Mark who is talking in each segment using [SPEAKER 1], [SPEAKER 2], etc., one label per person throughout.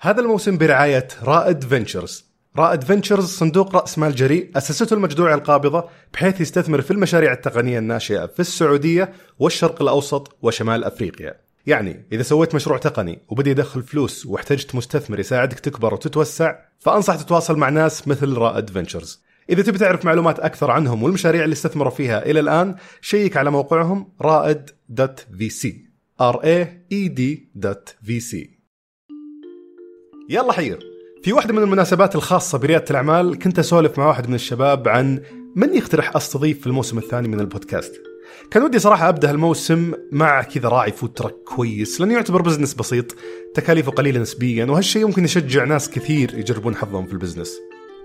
[SPEAKER 1] هذا الموسم برعاية رائد فينتشرز رائد فينتشرز صندوق رأس مال جريء أسسته المجدوعة القابضة بحيث يستثمر في المشاريع التقنية الناشئة في السعودية والشرق الأوسط وشمال أفريقيا يعني إذا سويت مشروع تقني وبدي يدخل فلوس واحتجت مستثمر يساعدك تكبر وتتوسع فأنصح تتواصل مع ناس مثل رائد فينتشرز إذا تبي تعرف معلومات أكثر عنهم والمشاريع اللي استثمروا فيها إلى الآن شيك على موقعهم رائد.vc r a e d.vc يلا حير في واحدة من المناسبات الخاصة بريادة الأعمال كنت أسولف مع واحد من الشباب عن من يقترح أستضيف في الموسم الثاني من البودكاست كان ودي صراحة أبدأ الموسم مع كذا راعي فود تراك كويس لأنه يعتبر بزنس بسيط تكاليفه قليلة نسبيا وهالشيء يمكن يشجع ناس كثير يجربون حظهم في البزنس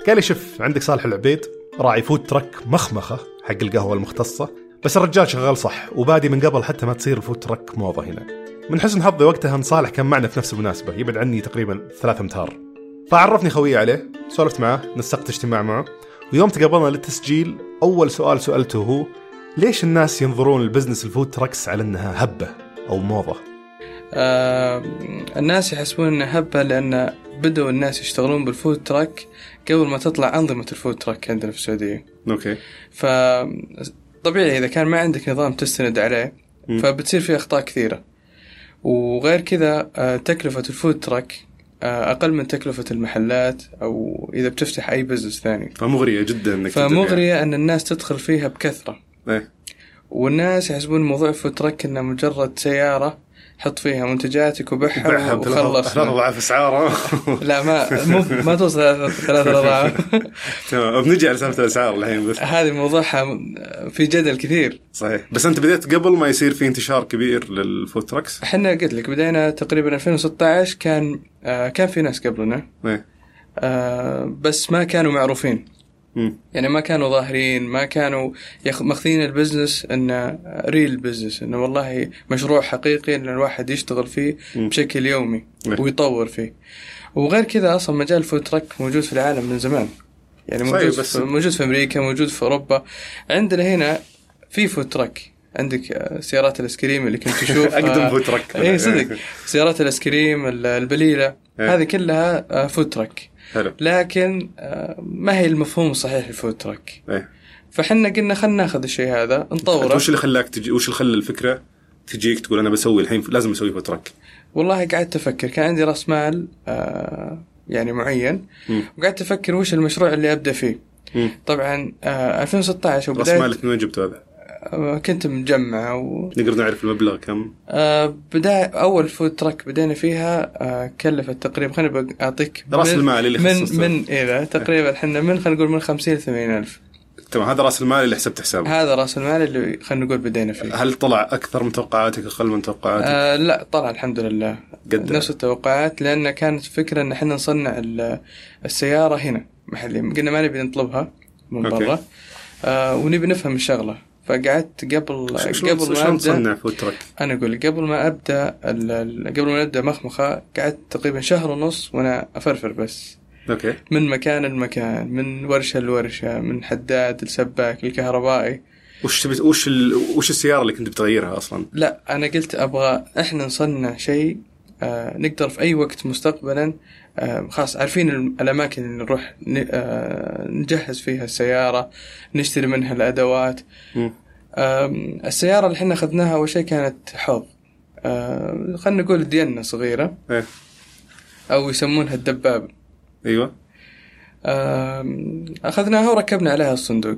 [SPEAKER 1] قال لي شف عندك صالح العبيد راعي فود تراك مخمخة حق القهوة المختصة بس الرجال شغال صح وبادي من قبل حتى ما تصير الفود تراك موضة هنا من حسن حظي وقتها ان صالح كان معنا في نفس المناسبة يبعد عني تقريبا ثلاثة امتار فعرفني خويي عليه سولفت معاه نسقت اجتماع معه ويوم تقابلنا للتسجيل اول سؤال سألته هو ليش الناس ينظرون لبزنس الفود تراكس على انها هبة او موضة
[SPEAKER 2] آه الناس يحسبون انها هبه لان بدأوا الناس يشتغلون بالفود تراك قبل ما تطلع انظمه الفود تراك عندنا في السعوديه
[SPEAKER 1] اوكي
[SPEAKER 2] ف طبيعي اذا كان ما عندك نظام تستند عليه
[SPEAKER 1] مم.
[SPEAKER 2] فبتصير في اخطاء كثيره وغير كذا آه، تكلفه الفود تراك آه، اقل من تكلفه المحلات او اذا بتفتح اي بزنس ثاني
[SPEAKER 1] فمغرية جدا انك
[SPEAKER 2] فمغريه ان الناس تدخل فيها بكثره
[SPEAKER 1] ايه
[SPEAKER 2] والناس يحسبون موضوع فود تراك انه مجرد سياره حط فيها منتجاتك وبعها وخلص
[SPEAKER 1] اضعاف اسعاره
[SPEAKER 2] لا ما مو ما توصل ثلاث ثلاث اضعاف
[SPEAKER 1] تمام بنجي على سالفه الاسعار الحين بس
[SPEAKER 2] هذه موضوعها في جدل كثير
[SPEAKER 1] صحيح بس انت بديت قبل ما يصير في انتشار كبير للفود تراكس
[SPEAKER 2] احنا قلت لك بدينا تقريبا 2016 كان آه كان في ناس قبلنا
[SPEAKER 1] ايه
[SPEAKER 2] آه بس ما كانوا معروفين
[SPEAKER 1] مم.
[SPEAKER 2] يعني ما كانوا ظاهرين ما كانوا ياخ- ماخذين البزنس انه ريل بزنس انه والله مشروع حقيقي ان الواحد يشتغل فيه
[SPEAKER 1] مم.
[SPEAKER 2] بشكل يومي
[SPEAKER 1] إيه.
[SPEAKER 2] ويطور فيه وغير كذا اصلا مجال الفود تراك موجود في العالم من زمان يعني
[SPEAKER 1] صحيح،
[SPEAKER 2] موجود
[SPEAKER 1] بس-
[SPEAKER 2] بس في موجود في امريكا موجود في اوروبا عندنا هنا في فود تراك عندك آه، سيارات الايس كريم اللي كنت تشوفها
[SPEAKER 1] اقدم فود تراك
[SPEAKER 2] اي آه، إيه، صدق سيارات الايس كريم ال- البليله
[SPEAKER 1] إيه.
[SPEAKER 2] هذه كلها آه، فود تراك
[SPEAKER 1] حلو
[SPEAKER 2] لكن آه، ما هي المفهوم الصحيح للفود تراك
[SPEAKER 1] ايه
[SPEAKER 2] فحنا قلنا خلينا ناخذ الشيء هذا
[SPEAKER 1] أنت
[SPEAKER 2] نطوره
[SPEAKER 1] وش اللي خلاك تجي وش اللي خلى الفكره تجيك تقول انا بسوي الحين لازم اسوي فود تراك
[SPEAKER 2] والله قعدت افكر كان عندي راس مال آه، يعني معين
[SPEAKER 1] مم.
[SPEAKER 2] وقعدت افكر وش المشروع اللي ابدا فيه
[SPEAKER 1] مم.
[SPEAKER 2] طبعا آه، 2016
[SPEAKER 1] راس
[SPEAKER 2] وبدايه
[SPEAKER 1] مالك من وين جبته هذا؟
[SPEAKER 2] آه، كنت مجمع و
[SPEAKER 1] نقدر نعرف المبلغ كم؟
[SPEAKER 2] آه، بدايه اول فود تراك بدينا فيها آه، كلفت تقريبا خليني بق- اعطيك
[SPEAKER 1] راس
[SPEAKER 2] من-
[SPEAKER 1] المال اللي
[SPEAKER 2] من
[SPEAKER 1] خصصته.
[SPEAKER 2] من اذا تقريبا احنا من خلينا نقول من 50 ل 80 الف
[SPEAKER 1] تمام هذا راس المال اللي حسبت حسابه
[SPEAKER 2] هذا راس المال اللي خلينا نقول بدينا فيه
[SPEAKER 1] هل طلع اكثر من توقعاتك اقل من توقعاتك؟
[SPEAKER 2] آه لا طلع الحمد لله
[SPEAKER 1] قد-
[SPEAKER 2] نفس التوقعات لان كانت فكره ان احنا نصنع ال- السياره هنا محليا قلنا ما نبي نطلبها من
[SPEAKER 1] أوكي.
[SPEAKER 2] برا آه ونبي نفهم الشغله فقعدت قبل
[SPEAKER 1] ش- شلون-
[SPEAKER 2] قبل ما
[SPEAKER 1] شلون
[SPEAKER 2] ابدا
[SPEAKER 1] تصنع فود تراك؟
[SPEAKER 2] انا اقول لك، قبل ما ابدا ال- ال- قبل ما نبدا مخمخه قعدت تقريبا شهر ونص وانا افرفر بس
[SPEAKER 1] اوكي
[SPEAKER 2] من مكان لمكان من ورشه لورشه من حداد لسباك الكهربائي
[SPEAKER 1] وش تبي وش ال... وش السياره اللي كنت بتغيرها اصلا؟
[SPEAKER 2] لا انا قلت ابغى احنا نصنع شيء آه نقدر في اي وقت مستقبلا آه خلاص عارفين الم- الاماكن اللي نروح ن- آه نجهز فيها السياره نشتري منها الادوات
[SPEAKER 1] مم.
[SPEAKER 2] آم، السياره اللي احنا اخذناها اول شيء كانت حوض آه خلينا نقول دينا صغيره
[SPEAKER 1] ايه
[SPEAKER 2] او يسمونها الدبابه
[SPEAKER 1] ايوه
[SPEAKER 2] آم، اخذناها وركبنا عليها الصندوق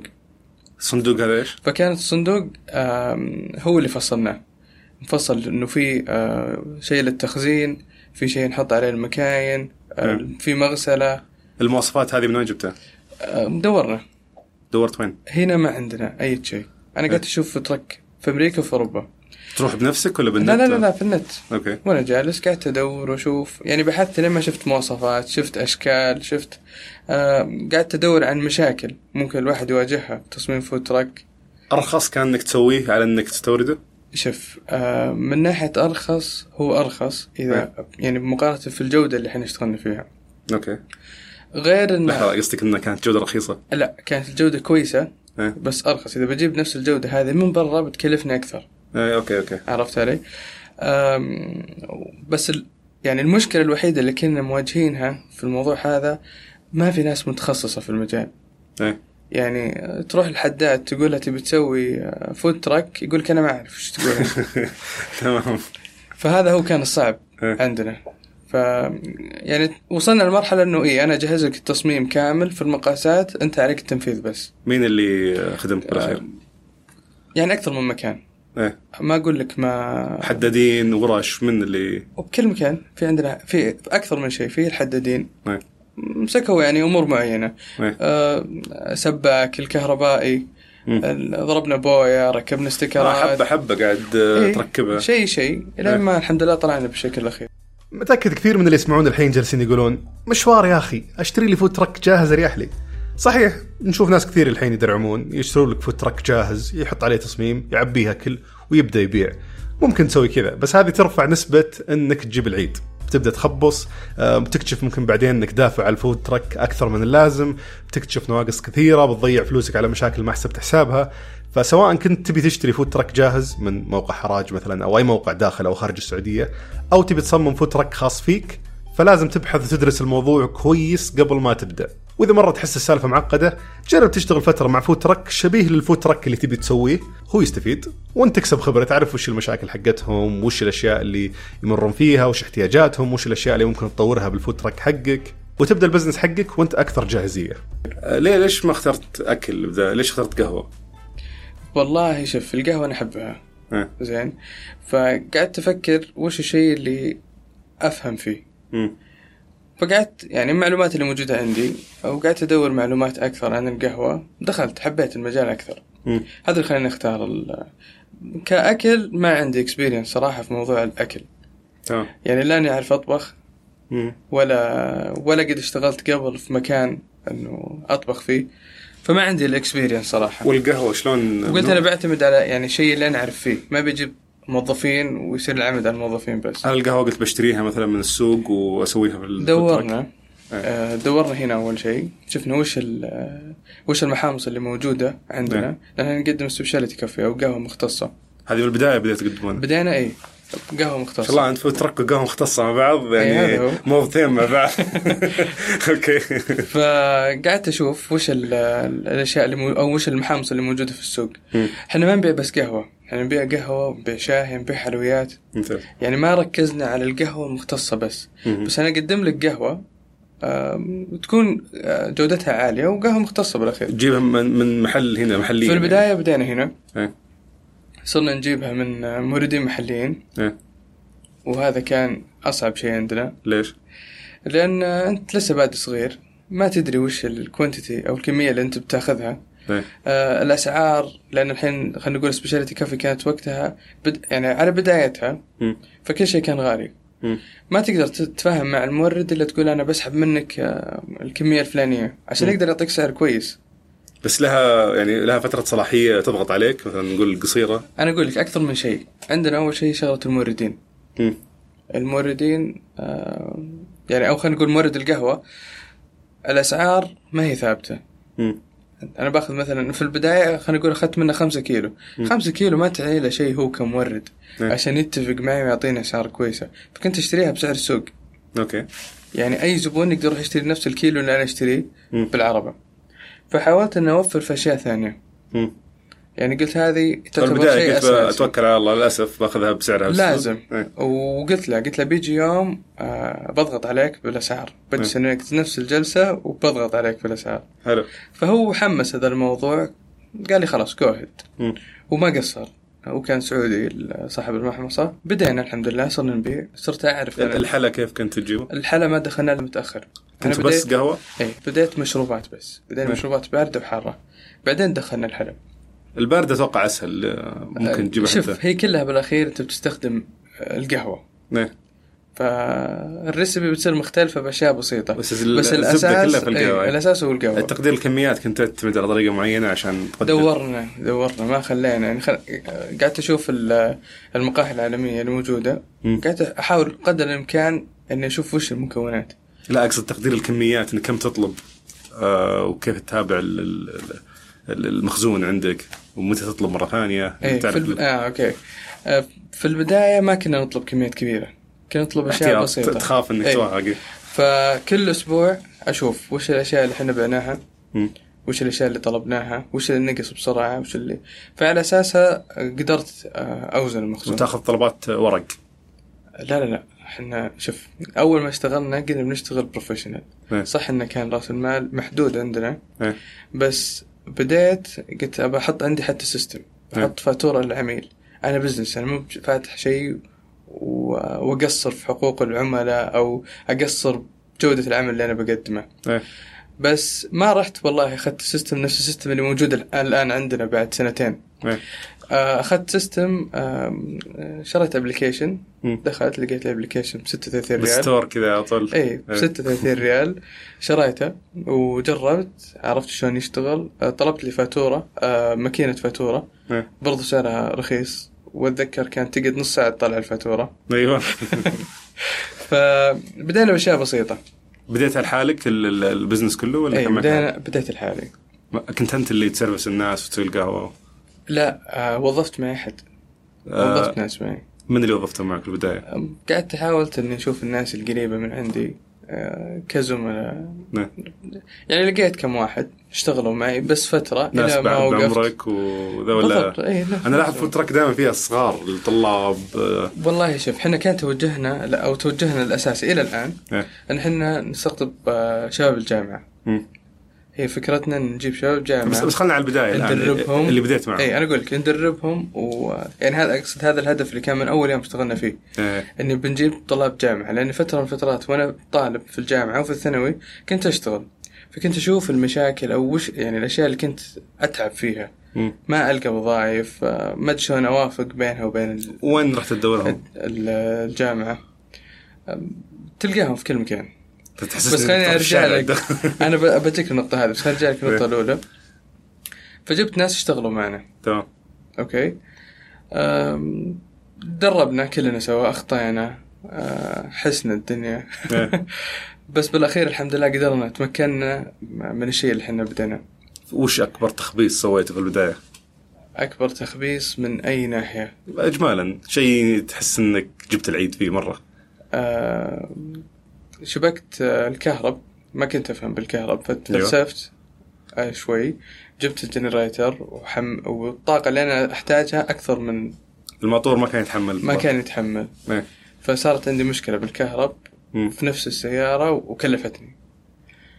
[SPEAKER 1] الصندوق هذا ايش؟
[SPEAKER 2] فكانت الصندوق آم، هو اللي فصلناه مفصل انه في آه، شيء للتخزين في شيء نحط عليه المكاين آه،
[SPEAKER 1] نعم.
[SPEAKER 2] في مغسله
[SPEAKER 1] المواصفات هذه من وين جبتها؟
[SPEAKER 2] آه، دورنا
[SPEAKER 1] دورت وين؟
[SPEAKER 2] هنا ما عندنا اي شيء انا قاعد اشوف في ترك نعم. في امريكا وفي اوروبا
[SPEAKER 1] تروح بنفسك ولا بالنت؟
[SPEAKER 2] لا لا لا, لا في النت
[SPEAKER 1] اوكي
[SPEAKER 2] وانا جالس قعدت ادور واشوف يعني بحثت لما شفت مواصفات شفت اشكال شفت آه، قعدت ادور عن مشاكل ممكن الواحد يواجهها في تصميم فود تراك
[SPEAKER 1] ارخص كان انك تسويه على انك تستورده؟
[SPEAKER 2] شوف آه، من ناحية أرخص هو أرخص إذا يعني مقارنة في الجودة اللي احنا اشتغلنا فيها
[SPEAKER 1] اوكي
[SPEAKER 2] غير إن
[SPEAKER 1] لحظه قصدك انها كانت جوده رخيصه
[SPEAKER 2] لا كانت الجودة كويسة
[SPEAKER 1] إيه.
[SPEAKER 2] بس أرخص إذا بجيب نفس الجودة هذه من برا
[SPEAKER 1] إيه،
[SPEAKER 2] بتكلفني أكثر
[SPEAKER 1] ايه اوكي اوكي
[SPEAKER 2] عرفت علي؟ آم، بس ال- يعني المشكلة الوحيدة اللي كنا مواجهينها في الموضوع هذا ما في ناس متخصصة في المجال
[SPEAKER 1] إيه.
[SPEAKER 2] يعني تروح الحداد تقول لها تبي تسوي فود تراك يقول لك انا ما اعرف ايش تقول
[SPEAKER 1] تمام
[SPEAKER 2] فهذا هو كان الصعب
[SPEAKER 1] إيه.
[SPEAKER 2] عندنا ف يعني وصلنا لمرحله انه ايه انا اجهز لك التصميم كامل في المقاسات انت عليك التنفيذ بس
[SPEAKER 1] مين اللي خدمت بالاخير؟
[SPEAKER 2] يعني اكثر من مكان
[SPEAKER 1] إيه.
[SPEAKER 2] ما اقول لك ما
[SPEAKER 1] حدادين ورش من اللي
[SPEAKER 2] وبكل مكان في عندنا في في اكثر من شيء في الحدادين
[SPEAKER 1] إيه.
[SPEAKER 2] مسكوا يعني امور معينه
[SPEAKER 1] إيه.
[SPEAKER 2] آه، سباك الكهربائي
[SPEAKER 1] مم.
[SPEAKER 2] ال- ضربنا بويا ركبنا
[SPEAKER 1] آه،
[SPEAKER 2] استيكرات إيه،
[SPEAKER 1] حبه حبه قاعد آه، تركبها إيه.
[SPEAKER 2] شيء شيء لين ما الحمد لله طلعنا بالشكل الاخير
[SPEAKER 3] متاكد كثير من اللي يسمعون الحين جالسين يقولون مشوار يا اخي اشتري لي فود ترك جاهز اريح لي صحيح نشوف ناس كثير الحين يدرعمون يشترون لك فود ترك جاهز يحط عليه تصميم يعبيها كل ويبدا يبيع ممكن تسوي كذا بس هذه ترفع نسبة انك تجيب العيد بتبدا تخبص آه، بتكتشف ممكن بعدين انك دافع على الفود ترك اكثر من اللازم بتكتشف نواقص كثيره بتضيع فلوسك على مشاكل ما حسبت حسابها فسواء كنت تبي تشتري فود ترك جاهز من موقع حراج مثلا او اي موقع داخل او خارج السعوديه او تبي تصمم فود ترك خاص فيك فلازم تبحث وتدرس الموضوع كويس قبل ما تبدا واذا مره تحس السالفه معقده جرب تشتغل فتره مع فود ترك شبيه للفود ترك اللي تبي تسويه هو يستفيد وانت تكسب خبره تعرف وش المشاكل حقتهم وش الاشياء اللي يمرون فيها وش احتياجاتهم وش الاشياء اللي ممكن تطورها بالفود ترك حقك وتبدا البزنس حقك وانت اكثر جاهزيه
[SPEAKER 1] آه، ليه ليش ما اخترت اكل بدا ليش اخترت قهوه؟
[SPEAKER 2] والله شوف القهوه انا احبها
[SPEAKER 1] إيه.
[SPEAKER 2] زين فقعدت افكر وش الشيء اللي افهم فيه
[SPEAKER 1] مم.
[SPEAKER 2] فقعدت يعني المعلومات اللي موجوده عندي وقعدت ادور معلومات اكثر عن القهوه دخلت حبيت المجال اكثر
[SPEAKER 1] مم.
[SPEAKER 2] هذا اللي خلاني اختار ال... كاكل ما عندي اكسبيرينس صراحه في موضوع الاكل
[SPEAKER 1] تمام
[SPEAKER 2] يعني لا اني اعرف اطبخ
[SPEAKER 1] مم.
[SPEAKER 2] ولا ولا قد اشتغلت قبل في مكان انه اطبخ فيه فما عندي الاكسبيرينس صراحه
[SPEAKER 1] والقهوه شلون
[SPEAKER 2] قلت انا بعتمد على يعني شيء اللي انا اعرف فيه ما بجيب موظفين ويصير العمد على الموظفين بس آه،
[SPEAKER 1] انا القهوه قلت بشتريها مثلا من السوق واسويها في ال-
[SPEAKER 2] دورنا
[SPEAKER 1] إيه.
[SPEAKER 2] آه، دورنا هنا اول شيء شفنا وش ال- آه، وش المحامص اللي موجوده عندنا
[SPEAKER 1] إيه.
[SPEAKER 2] لان نقدم سبيشاليتي كافي او قهوه مختصه
[SPEAKER 1] هذه من البدايه بديت تقدمونها ما
[SPEAKER 2] بدينا إيه؟ اي قهوه
[SPEAKER 1] شاء الله
[SPEAKER 2] مختصه
[SPEAKER 1] انت فوت ترك وقهوه مختصه مع بعض يعني
[SPEAKER 2] إيه، هذا هو.
[SPEAKER 1] موظفين مع بعض اوكي
[SPEAKER 2] فقعدت اشوف وش ال- ال- الاشياء اللي مو او وش المحامص اللي موجوده في السوق
[SPEAKER 1] مم.
[SPEAKER 2] احنا ما نبيع بس قهوه احنا نبيع قهوه ونبيع شاي نبيع حلويات
[SPEAKER 1] مثل
[SPEAKER 2] يعني ما ركزنا على القهوه المختصه بس
[SPEAKER 1] مم.
[SPEAKER 2] بس انا اقدم لك قهوه آم، وتكون آه، جودتها عاليه وقهوه مختصه بالاخير
[SPEAKER 1] تجيبها من من محل هنا يعني. محليا
[SPEAKER 2] في البدايه بدينا هنا
[SPEAKER 1] إيه.
[SPEAKER 2] صرنا نجيبها من آه، موردين محليين
[SPEAKER 1] يعني. إيه.
[SPEAKER 2] وهذا كان اصعب شيء عندنا
[SPEAKER 1] ليش؟
[SPEAKER 2] لان آه، انت لسه بادئ صغير ما تدري وش الكوانتيتي او الكميه اللي انت بتاخذها
[SPEAKER 1] إيه.
[SPEAKER 2] آه الاسعار لان الحين خلينا نقول سبيشاليتي كافي كانت وقتها بد... يعني على بدايتها
[SPEAKER 1] مم.
[SPEAKER 2] فكل شيء كان غالي
[SPEAKER 1] مم.
[SPEAKER 2] ما تقدر تت- تتفاهم مع المورد الا تقول انا بسحب منك آه، الكميه الفلانيه عشان يقدر يعطيك سعر كويس
[SPEAKER 1] بس لها يعني لها فتره صلاحيه تضغط عليك مثلا نقول قصيره
[SPEAKER 2] انا اقول لك اكثر من شيء عندنا اول شيء شغله الموردين
[SPEAKER 1] مم.
[SPEAKER 2] الموردين آه، يعني او خلينا نقول مورد القهوه الاسعار ما هي ثابته
[SPEAKER 1] مم.
[SPEAKER 2] انا باخذ مثلا في البدايه خلينا نقول اخذت منه خمسة كيلو خمسة كيلو ما تعني له شيء هو كمورد
[SPEAKER 1] إيه.
[SPEAKER 2] عشان يتفق معي ويعطيني اسعار كويسه فكنت اشتريها بسعر السوق
[SPEAKER 1] اوكي
[SPEAKER 2] يعني اي زبون يقدر يروح يشتري نفس الكيلو اللي انا اشتريه
[SPEAKER 1] مم.
[SPEAKER 2] بالعربه فحاولت اني اوفر في اشياء ثانيه
[SPEAKER 1] مم.
[SPEAKER 2] يعني قلت هذه
[SPEAKER 1] في
[SPEAKER 2] تعتبر شيء
[SPEAKER 1] البدايه قلت
[SPEAKER 2] اساسي
[SPEAKER 1] اتوكل على الله للاسف باخذها بسعرها بالسوق.
[SPEAKER 2] لازم
[SPEAKER 1] إيه.
[SPEAKER 2] وقلت له قلت له بيجي يوم آه بضغط عليك بالاسعار
[SPEAKER 1] إيه.
[SPEAKER 2] بجلس إنك نفس الجلسه وبضغط عليك بالاسعار
[SPEAKER 1] حلو
[SPEAKER 2] فهو حمس هذا الموضوع قال لي خلاص جوهد
[SPEAKER 1] مم.
[SPEAKER 2] وما قصر وكان سعودي صاحب المحمصه بدينا الحمد لله صرنا نبيع صرت اعرف أنا.
[SPEAKER 1] الحلا كيف كنت تجيبه؟
[SPEAKER 2] الحلا ما دخلنا لها متاخر
[SPEAKER 1] كنت بس إيه. قهوه؟
[SPEAKER 2] اي إيه، بديت مشروبات بس بدينا مشروبات بارده وحاره بعدين دخلنا الحلب
[SPEAKER 1] البارده اتوقع اسهل آه، ممكن تجيبها حتى
[SPEAKER 2] أه، شوف هي كلها بالاخير انت بتستخدم آه، القهوه
[SPEAKER 1] إيه.
[SPEAKER 2] فالريسبي بتصير مختلفه باشياء بسيطه
[SPEAKER 1] بس,
[SPEAKER 2] بس
[SPEAKER 1] الزبدة
[SPEAKER 2] الاساس
[SPEAKER 1] كلها في القهوة
[SPEAKER 2] إيه
[SPEAKER 1] إيه.
[SPEAKER 2] الاساس هو القهوه
[SPEAKER 1] تقدير الكميات كنت تعتمد على طريقه معينه عشان تقدر
[SPEAKER 2] دورنا دورنا ما خلينا يعني خل... قعدت اشوف ال- المقاهي العالميه الموجوده
[SPEAKER 1] مم.
[SPEAKER 2] قعدت احاول قدر الامكان اني اشوف وش المكونات
[SPEAKER 1] لا اقصد تقدير الكميات ان كم تطلب آه وكيف تتابع ال- ال- ال- المخزون عندك ومتى تطلب مره ثانيه
[SPEAKER 2] ايه في
[SPEAKER 1] تعرف
[SPEAKER 2] آه، الب... اه اوكي آه، في البدايه ما كنا نطلب كميات كبيره كنا نطلب اشياء
[SPEAKER 1] احتياط
[SPEAKER 2] بسيطه
[SPEAKER 1] تخاف انك
[SPEAKER 2] إيه.
[SPEAKER 1] توهق
[SPEAKER 2] فكل اسبوع اشوف وش الاشياء اللي احنا بعناها
[SPEAKER 1] مم.
[SPEAKER 2] وش الاشياء اللي طلبناها وش اللي نقص بسرعه وش اللي فعلى اساسها قدرت آه، اوزن المخزون
[SPEAKER 1] وتاخذ طلبات ورق
[SPEAKER 2] لا لا لا احنا شوف اول ما اشتغلنا قلنا بنشتغل بروفيشنال
[SPEAKER 1] إيه.
[SPEAKER 2] صح انه كان راس المال محدود عندنا
[SPEAKER 1] إيه.
[SPEAKER 2] بس بديت قلت ابى احط عندي حتى سيستم
[SPEAKER 1] إيه.
[SPEAKER 2] احط فاتوره للعميل انا بزنس انا مو بج- فاتح شيء و- واقصر في حقوق العملاء او اقصر بجوده العمل اللي انا بقدمه
[SPEAKER 1] إيه.
[SPEAKER 2] بس ما رحت والله اخذت سيستم نفس السيستم اللي موجود الآن- الان عندنا بعد سنتين
[SPEAKER 1] إيه.
[SPEAKER 2] آه، اخذت سيستم آم، آه، شريت ابلكيشن
[SPEAKER 1] مم.
[SPEAKER 2] دخلت لقيت الابلكيشن ب 36 ريال إيه.
[SPEAKER 1] بالستور كذا على طول
[SPEAKER 2] اي ب 36 ريال شريته وجربت عرفت شلون يشتغل آه، طلبت لي فاتوره آه، ماكينه فاتوره
[SPEAKER 1] إيه.
[SPEAKER 2] برضو سعرها رخيص واتذكر كانت تقعد نص ساعه تطلع الفاتوره
[SPEAKER 1] ايوه
[SPEAKER 2] فبدينا باشياء بسيطه
[SPEAKER 1] بديت على حالك ال- ال- البزنس كله ولا
[SPEAKER 2] اي
[SPEAKER 1] كان معك
[SPEAKER 2] إيه، بدينا بديت الحالي
[SPEAKER 1] أحد؟ كنت انت اللي تسرفس الناس وتسوي القهوه
[SPEAKER 2] لا آه، وظفت معي احد
[SPEAKER 1] آه،
[SPEAKER 2] وظفت ناس معي
[SPEAKER 1] من اللي وظفته معك في البدايه؟
[SPEAKER 2] أم، قعدت حاولت اني اشوف الناس القريبه من عندي آه، كزملاء
[SPEAKER 1] نعم.
[SPEAKER 2] يعني لقيت كم واحد اشتغلوا معي بس فتره
[SPEAKER 1] ناس
[SPEAKER 2] الى ما
[SPEAKER 1] بعد
[SPEAKER 2] وقفت
[SPEAKER 1] عمرك وذا
[SPEAKER 2] بالضبط
[SPEAKER 1] ولا
[SPEAKER 2] اي نفس-
[SPEAKER 1] انا لاحظ فود تراك دائما فيها صغار الطلاب آه،
[SPEAKER 2] والله شوف احنا كان توجهنا لا، او توجهنا الاساسي الى الان
[SPEAKER 1] إيه.
[SPEAKER 2] ان احنا نستقطب آه، شباب الجامعه
[SPEAKER 1] مم.
[SPEAKER 2] هي فكرتنا ان نجيب شباب
[SPEAKER 1] بس
[SPEAKER 2] جامعه
[SPEAKER 1] بس خلينا على البدايه الان
[SPEAKER 2] ندربهم.
[SPEAKER 1] اللي بديت معه
[SPEAKER 2] اي انا اقول لك ندربهم ويعني هذا اقصد هذا الهدف اللي كان من اول يوم اشتغلنا فيه
[SPEAKER 1] إيه.
[SPEAKER 2] اني بنجيب طلاب جامعه لان فتره من الفترات وانا طالب في الجامعه وفي الثانوي كنت اشتغل فكنت اشوف المشاكل او وش يعني الاشياء اللي كنت اتعب فيها
[SPEAKER 1] مم.
[SPEAKER 2] ما القى وظائف آه، ما أدري شلون اوافق بينها وبين ال-
[SPEAKER 1] وين رحت تدورهم؟
[SPEAKER 2] ال- الجامعه أم، تلقاهم في كل مكان
[SPEAKER 1] تحسسني
[SPEAKER 2] بس خليني
[SPEAKER 1] إنك
[SPEAKER 2] ارجع
[SPEAKER 1] في
[SPEAKER 2] لك
[SPEAKER 1] الشارع.
[SPEAKER 2] انا ب- بجيك النقطه هذه بس ارجع لك النقطه الاولى فجبت ناس اشتغلوا معنا
[SPEAKER 1] تمام
[SPEAKER 2] اوكي أم، دربنا كلنا سوا اخطينا أه، حسنا الدنيا
[SPEAKER 1] إيه.
[SPEAKER 2] بس بالاخير الحمد لله قدرنا تمكنا من الشيء اللي احنا بدينا
[SPEAKER 1] وش اكبر تخبيص سويته في البدايه؟
[SPEAKER 2] اكبر تخبيص من اي ناحيه
[SPEAKER 1] اجمالا شيء تحس انك جبت العيد فيه مره
[SPEAKER 2] أه، شبكت أه، الكهرب ما كنت افهم بالكهرب
[SPEAKER 1] أيوة.
[SPEAKER 2] فتفلسفت أه، شوي جبت الجنريتر وحم والطاقه اللي انا احتاجها اكثر من
[SPEAKER 1] الماطور ما كان يتحمل
[SPEAKER 2] ما كان يتحمل
[SPEAKER 1] إيه.
[SPEAKER 2] فصارت عندي مشكله بالكهرب
[SPEAKER 1] مم.
[SPEAKER 2] في نفس السياره وكلفتني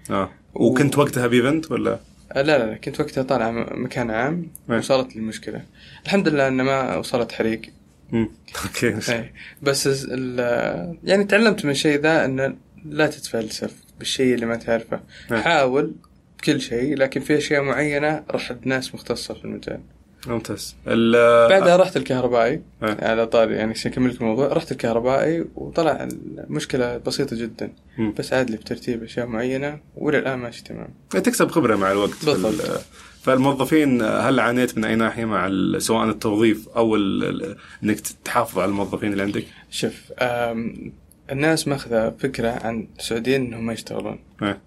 [SPEAKER 1] اه وكنت وقتها بيفنت ولا؟
[SPEAKER 2] أه، لا لا لا كنت وقتها طالع م- مكان عام
[SPEAKER 1] إيه.
[SPEAKER 2] وصارت لي المشكله الحمد لله انه ما وصلت حريق
[SPEAKER 1] مم. اوكي
[SPEAKER 2] إيه. بس الز- ال- يعني تعلمت من شيء ذا ان لا تتفلسف بالشيء اللي ما تعرفه
[SPEAKER 1] نعم.
[SPEAKER 2] حاول بكل شيء لكن في اشياء معينه رح لناس مختصه في المجال
[SPEAKER 1] ممتاز ال-
[SPEAKER 2] بعدها رحت الكهربائي
[SPEAKER 1] نعم.
[SPEAKER 2] على طاري يعني عشان اكمل لك الموضوع رحت الكهربائي وطلع المشكله بسيطه جدا
[SPEAKER 1] مم.
[SPEAKER 2] بس عاد لي بترتيب اشياء معينه والى الان ماشي تمام
[SPEAKER 1] آه، تكسب خبره مع الوقت في
[SPEAKER 2] بالضبط.
[SPEAKER 1] ال- فالموظفين آه، هل عانيت من اي ناحيه مع ال- سواء التوظيف او ال- ال- انك تحافظ على الموظفين اللي عندك؟
[SPEAKER 2] شوف أم، الناس ماخذه فكره عن السعوديين انهم ما يشتغلون
[SPEAKER 1] إيه.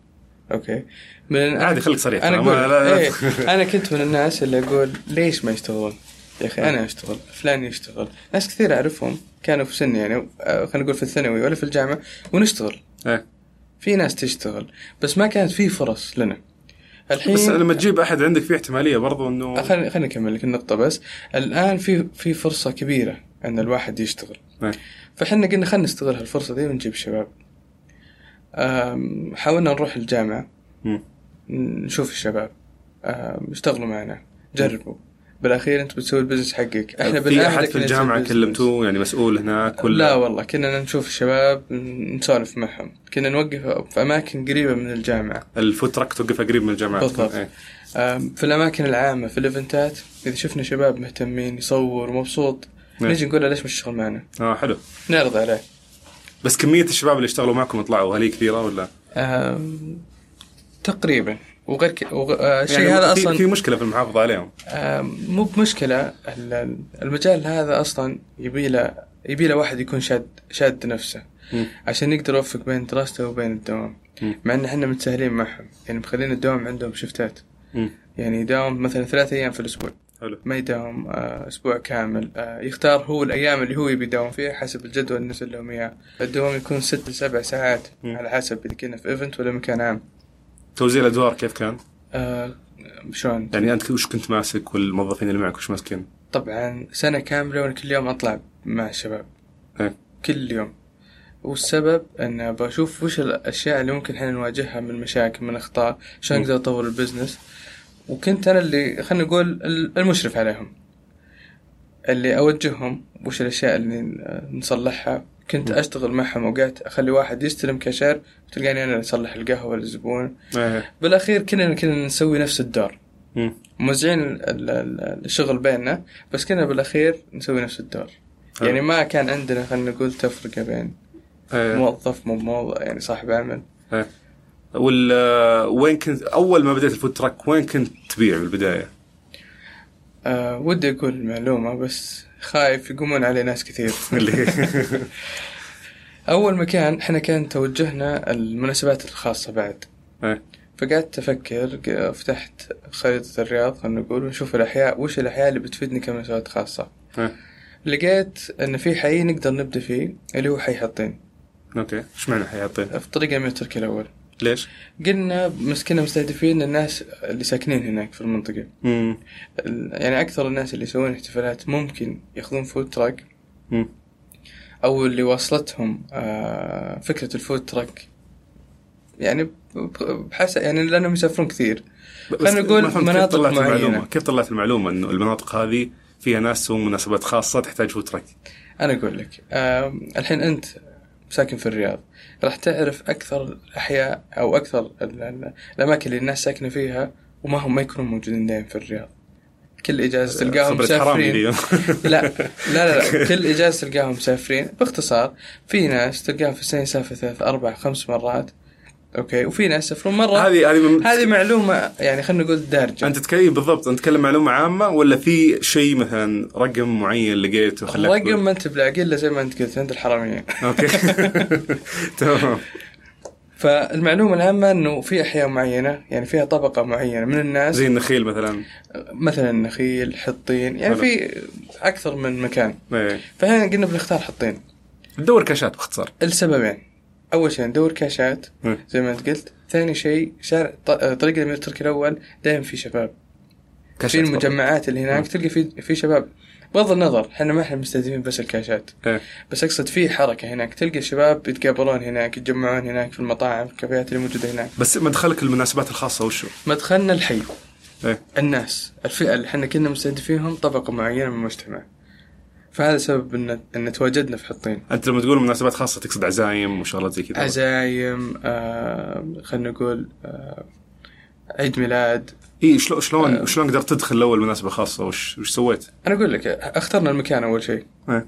[SPEAKER 2] اوكي من
[SPEAKER 1] عادي خليك صريح
[SPEAKER 2] انا
[SPEAKER 1] ترى ما-
[SPEAKER 2] اقول
[SPEAKER 1] لا- لا-
[SPEAKER 2] ايه انا كنت من الناس اللي اقول ليش ما يشتغلون؟ يا اخي انا اشتغل فلان يشتغل ناس كثير اعرفهم كانوا في سن يعني آه، خلينا نقول في الثانوي ولا في الجامعه ونشتغل
[SPEAKER 1] إيه.
[SPEAKER 2] في ناس تشتغل بس ما كانت في فرص لنا الحين
[SPEAKER 1] بس لما تجيب احد عندك في احتماليه برضو انه
[SPEAKER 2] آه، خليني خليني اكمل لك النقطه بس الان في في فرصه كبيره ان الواحد يشتغل
[SPEAKER 1] إيه.
[SPEAKER 2] فحنا قلنا خلينا نستغل هالفرصه دي ونجيب شباب أم، حاولنا نروح الجامعه
[SPEAKER 1] مم.
[SPEAKER 2] نشوف الشباب أم، اشتغلوا معنا جربوا بالاخير انت بتسوي البزنس حقك احنا
[SPEAKER 1] في
[SPEAKER 2] بنعاهدك
[SPEAKER 1] احد
[SPEAKER 2] إنك
[SPEAKER 1] في
[SPEAKER 2] تسوي
[SPEAKER 1] الجامعه
[SPEAKER 2] البزنس.
[SPEAKER 1] كلمتوه يعني مسؤول هناك
[SPEAKER 2] لا
[SPEAKER 1] ولا
[SPEAKER 2] والله كنا نشوف الشباب نسولف معهم كنا نوقف في اماكن قريبه من الجامعه
[SPEAKER 1] الفود تراك توقفها قريب من الجامعه
[SPEAKER 2] بالضبط.
[SPEAKER 1] إيه.
[SPEAKER 2] أم، في الأماكن العامة في الإيفنتات إذا شفنا شباب مهتمين يصور ومبسوط
[SPEAKER 1] نعم.
[SPEAKER 2] نجي نقول له ليش مش تشتغل معنا؟
[SPEAKER 1] اه حلو
[SPEAKER 2] نعرض عليه
[SPEAKER 1] بس كميه الشباب اللي اشتغلوا معكم طلعوا هل هي كثيره ولا؟
[SPEAKER 2] أم، تقريبا وغير ك... وغ... آه، الشيء
[SPEAKER 1] يعني
[SPEAKER 2] هذا
[SPEAKER 1] في-
[SPEAKER 2] أصلا
[SPEAKER 1] في مشكله في المحافظه عليهم
[SPEAKER 2] آم، آه، مو بمشكلة ال- المجال هذا أصلا يبي له يبي له واحد يكون شاد شاد نفسه
[SPEAKER 1] مم.
[SPEAKER 2] عشان يقدر يوفق بين دراسته وبين الدوام
[SPEAKER 1] مم.
[SPEAKER 2] مع إن احنا متساهلين معهم يعني مخلين الدوام عندهم شفتات
[SPEAKER 1] مم.
[SPEAKER 2] يعني يداوم مثلا ثلاثة أيام في الأسبوع
[SPEAKER 1] حلو
[SPEAKER 2] ما يداوم آه، اسبوع كامل آه، يختار هو الايام اللي هو يبي يداوم فيها حسب الجدول اللي نزل لهم اياه الدوام يكون ست لسبع ساعات
[SPEAKER 1] مم.
[SPEAKER 2] على حسب اذا كنا في ايفنت ولا مكان عام
[SPEAKER 1] توزيع الادوار كيف كان؟
[SPEAKER 2] آه، شلون
[SPEAKER 1] يعني انت وش كنت ماسك والموظفين اللي معك وش ماسكين؟
[SPEAKER 2] طبعا سنة كاملة وأنا كل يوم أطلع مع الشباب
[SPEAKER 1] إيه.
[SPEAKER 2] كل يوم والسبب أن بشوف وش الأشياء اللي ممكن احنا نواجهها من مشاكل من أخطاء عشان
[SPEAKER 1] مم.
[SPEAKER 2] أقدر أطور البزنس وكنت أنا اللي خلينا نقول ال- المشرف عليهم اللي أوجههم وش الأشياء اللي ن- نصلحها كنت
[SPEAKER 1] مم.
[SPEAKER 2] أشتغل معهم أوقات أخلي واحد يستلم كاشير وتلقاني أنا اللي أصلح القهوة للزبون يعني
[SPEAKER 1] ايه
[SPEAKER 2] بالأخير كلنا كنا نسوي نفس الدور
[SPEAKER 1] مم.
[SPEAKER 2] موزعين ال- ال- ال- الشغل بيننا بس كنا بالاخير نسوي نفس الدور
[SPEAKER 1] حلو.
[SPEAKER 2] يعني ما كان عندنا خلينا نقول تفرقه بين
[SPEAKER 1] ايه
[SPEAKER 2] موظف مو موظف يعني صاحب عمل
[SPEAKER 1] وال وين كنت اول ما بديت الفود تراك وين كنت تبيع بالبدايه؟
[SPEAKER 2] أه ودي اقول المعلومه بس خايف يقومون عليه ناس كثير
[SPEAKER 1] اللي
[SPEAKER 2] اول مكان احنا كان توجهنا المناسبات الخاصه بعد
[SPEAKER 1] إيه.
[SPEAKER 2] فقعدت افكر ق- فتحت خريطه الرياض خلينا نقول ونشوف الاحياء وش الاحياء اللي بتفيدني كمناسبات خاصه
[SPEAKER 1] إيه.
[SPEAKER 2] لقيت ان في حي نقدر نبدا فيه اللي هو حي حطين
[SPEAKER 1] اوكي ايش معنى حياتين؟
[SPEAKER 2] في طريق امير تركي الاول
[SPEAKER 1] ليش؟
[SPEAKER 2] قلنا مسكنا مستهدفين الناس اللي ساكنين هناك في المنطقة
[SPEAKER 1] مم.
[SPEAKER 2] ال- يعني أكثر الناس اللي يسوون احتفالات ممكن ياخذون فود تراك
[SPEAKER 1] مم.
[SPEAKER 2] أو اللي واصلتهم آه، فكرة الفود تراك يعني بحسب يعني لأنهم يسافرون كثير
[SPEAKER 1] بس
[SPEAKER 2] نقول
[SPEAKER 1] ما فهمت كيف
[SPEAKER 2] مناطق
[SPEAKER 1] طلعت
[SPEAKER 2] معينة.
[SPEAKER 1] المعلومه كيف طلعت المعلومه انه المناطق هذه فيها ناس يسوون مناسبات خاصه تحتاج فود تراك؟
[SPEAKER 2] أنا أقول لك آه، الحين أنت ساكن في الرياض راح تعرف أكثر الأحياء أو أكثر ال- ال- الأماكن اللي الناس ساكنة فيها وما هم ما يكونوا موجودين دائما في الرياض كل إجازة
[SPEAKER 1] آه،
[SPEAKER 2] تلقاهم
[SPEAKER 1] خبرة حرامي
[SPEAKER 2] مسافرين
[SPEAKER 1] دي.
[SPEAKER 2] لا لا لا, لا. كل اجازه تلقاهم مسافرين باختصار في ناس تلقاهم في السنه يسافر ثلاث اربع خمس مرات اوكي وفي ناس يسافرون مره هذه
[SPEAKER 1] هذه هذه من-
[SPEAKER 2] هذه معلومه يعني خلينا نقول دارجه
[SPEAKER 1] انت تتكلم بالضبط انت تتكلم معلومه عامه ولا في شيء مثلا رقم معين لقيته خلاك
[SPEAKER 2] الرقم
[SPEAKER 1] تقول؟
[SPEAKER 2] ما انت بلاقي الا زي ما انت قلت عند الحراميه
[SPEAKER 1] اوكي تمام
[SPEAKER 2] فالمعلومه العامه انه في احياء معينه يعني فيها طبقه معينه من الناس
[SPEAKER 1] زي النخيل مثلا
[SPEAKER 2] مثلا نخيل حطين يعني
[SPEAKER 1] حلو.
[SPEAKER 2] في اكثر من مكان
[SPEAKER 1] إيه.
[SPEAKER 2] فهنا قلنا بنختار حطين
[SPEAKER 1] تدور كاشات باختصار
[SPEAKER 2] السببين اول شيء ندور كاشات
[SPEAKER 1] إيه.
[SPEAKER 2] زي ما انت قلت ثاني شيء شارع ط- طريق الامير تركي الاول دائما في شباب في
[SPEAKER 1] كاشات
[SPEAKER 2] المجمعات اللي هناك
[SPEAKER 1] مم.
[SPEAKER 2] تلقى في في شباب بغض النظر احنا ما احنا مستهدفين بس الكاشات
[SPEAKER 1] إيه.
[SPEAKER 2] بس اقصد في حركه هناك تلقى الشباب يتقابلون هناك يتجمعون هناك في المطاعم في الكافيهات اللي موجوده هناك
[SPEAKER 1] بس مدخلك المناسبات الخاصه وشو؟
[SPEAKER 2] مدخلنا الحي
[SPEAKER 1] إيه.
[SPEAKER 2] الناس الفئه اللي احنا كنا مستهدفينهم طبقه معينه من المجتمع فهذا سبب ان ان تواجدنا في حطين
[SPEAKER 1] انت لما تقول مناسبات خاصه تقصد عزايم وشغلات زي كذا
[SPEAKER 2] عزايم آه خلينا نقول آه عيد ميلاد
[SPEAKER 1] اي شلون إيه،
[SPEAKER 2] آه.
[SPEAKER 1] شلون شلون قدرت تدخل الاول مناسبه خاصه وش وش سويت؟
[SPEAKER 2] انا اقول لك اخترنا المكان اول شيء
[SPEAKER 1] إيه.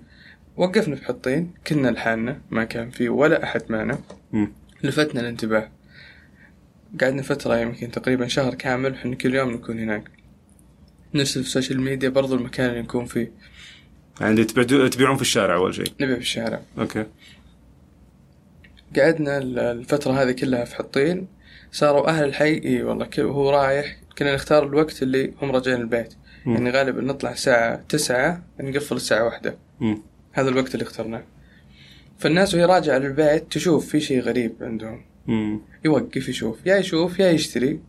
[SPEAKER 2] وقفنا في حطين كنا لحالنا ما كان في ولا احد معنا
[SPEAKER 1] مم.
[SPEAKER 2] لفتنا الانتباه قعدنا فترة يمكن تقريبا شهر كامل احنا كل يوم نكون هناك نرسل في السوشيال ميديا برضو المكان اللي نكون فيه
[SPEAKER 1] يعني تبيعو- تبيعون في الشارع اول شيء
[SPEAKER 2] نبيع في الشارع
[SPEAKER 1] اوكي
[SPEAKER 2] قعدنا ال- الفترة هذه كلها في حطين صاروا أهل الحي إي والله كل هو رايح كنا نختار الوقت اللي هم راجعين البيت
[SPEAKER 1] مم.
[SPEAKER 2] يعني غالبا نطلع الساعة تسعة نقفل الساعة واحدة
[SPEAKER 1] مم.
[SPEAKER 2] هذا الوقت اللي اخترناه فالناس وهي راجعة للبيت تشوف في شيء غريب عندهم
[SPEAKER 1] مم.
[SPEAKER 2] يوقف يشوف يا يشوف يا يشتري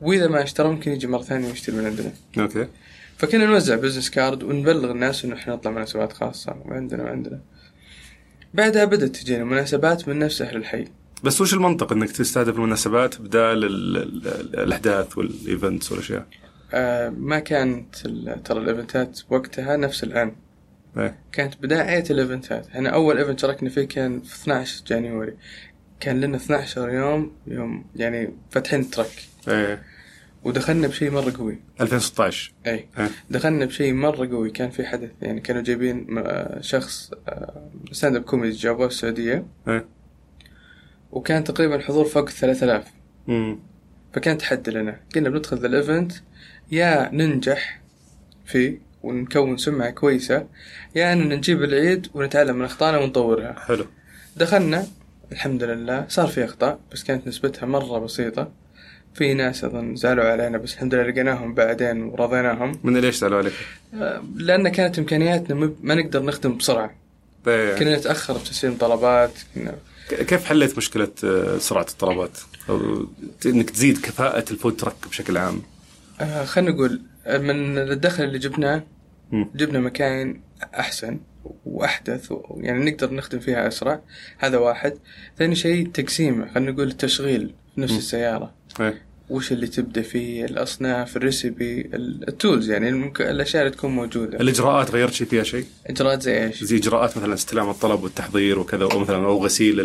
[SPEAKER 2] وإذا ما اشترى ممكن يجي مرة ثانية ويشتري من عندنا
[SPEAKER 1] اوكي
[SPEAKER 2] فكنا نوزع بزنس كارد ونبلغ الناس انه احنا نطلع مناسبات خاصة وعندنا وعندنا بعدها بدأت تجينا مناسبات من نفس أهل الحي
[SPEAKER 1] بس وش المنطق انك تستهدف المناسبات بدال ال- ال- ال- الاحداث والايفنتس والاشياء؟
[SPEAKER 2] آه، ما كانت ال- ترى الايفنتات وقتها نفس الان
[SPEAKER 1] إيه.
[SPEAKER 2] كانت بداية الايفنتات احنا اول ايفنت شاركنا فيه كان في 12 جانيوري كان لنا 12 يوم يوم يعني فاتحين ترك
[SPEAKER 1] ايه
[SPEAKER 2] ودخلنا بشيء مرة قوي
[SPEAKER 1] 2016
[SPEAKER 2] اي
[SPEAKER 1] إيه.
[SPEAKER 2] دخلنا بشيء مرة قوي كان في حدث يعني كانوا جايبين م- آه، شخص ستاند اب كوميدي جابوه في السعودية
[SPEAKER 1] إيه.
[SPEAKER 2] وكان تقريبا الحضور فوق 3000
[SPEAKER 1] مم.
[SPEAKER 2] فكان تحدي لنا قلنا بندخل ذا الايفنت يا ننجح فيه ونكون سمعة كويسة يا أن نجيب العيد ونتعلم من أخطائنا ونطورها
[SPEAKER 1] حلو
[SPEAKER 2] دخلنا الحمد لله صار في أخطاء بس كانت نسبتها مرة بسيطة في ناس اظن زعلوا علينا بس الحمد لله لقيناهم بعدين ورضيناهم
[SPEAKER 1] من ليش سالوا عليك؟
[SPEAKER 2] آه، لان كانت امكانياتنا مب- ما نقدر نخدم بسرعه
[SPEAKER 1] إيه.
[SPEAKER 2] كنا نتاخر بتسليم طلبات كنا
[SPEAKER 1] ك- كيف حليت مشكله آه، سرعه الطلبات؟ او ت- انك تزيد كفاءه الفود ترك بشكل عام
[SPEAKER 2] آه، خلينا نقول آه، من الدخل اللي جبناه
[SPEAKER 1] مم.
[SPEAKER 2] جبنا مكاين احسن واحدث و- يعني نقدر نخدم فيها اسرع هذا واحد ثاني شيء تقسيمه خلينا نقول التشغيل في نفس السياره
[SPEAKER 1] إيه.
[SPEAKER 2] وش اللي تبدا فيه الاصناف الريسبي ال- التولز يعني المك... الاشياء اللي تكون موجوده
[SPEAKER 1] الاجراءات غيرت شيء فيها شيء؟
[SPEAKER 2] اجراءات زي ايش
[SPEAKER 1] زي اجراءات مثلا استلام الطلب والتحضير وكذا او مثلا او غسيل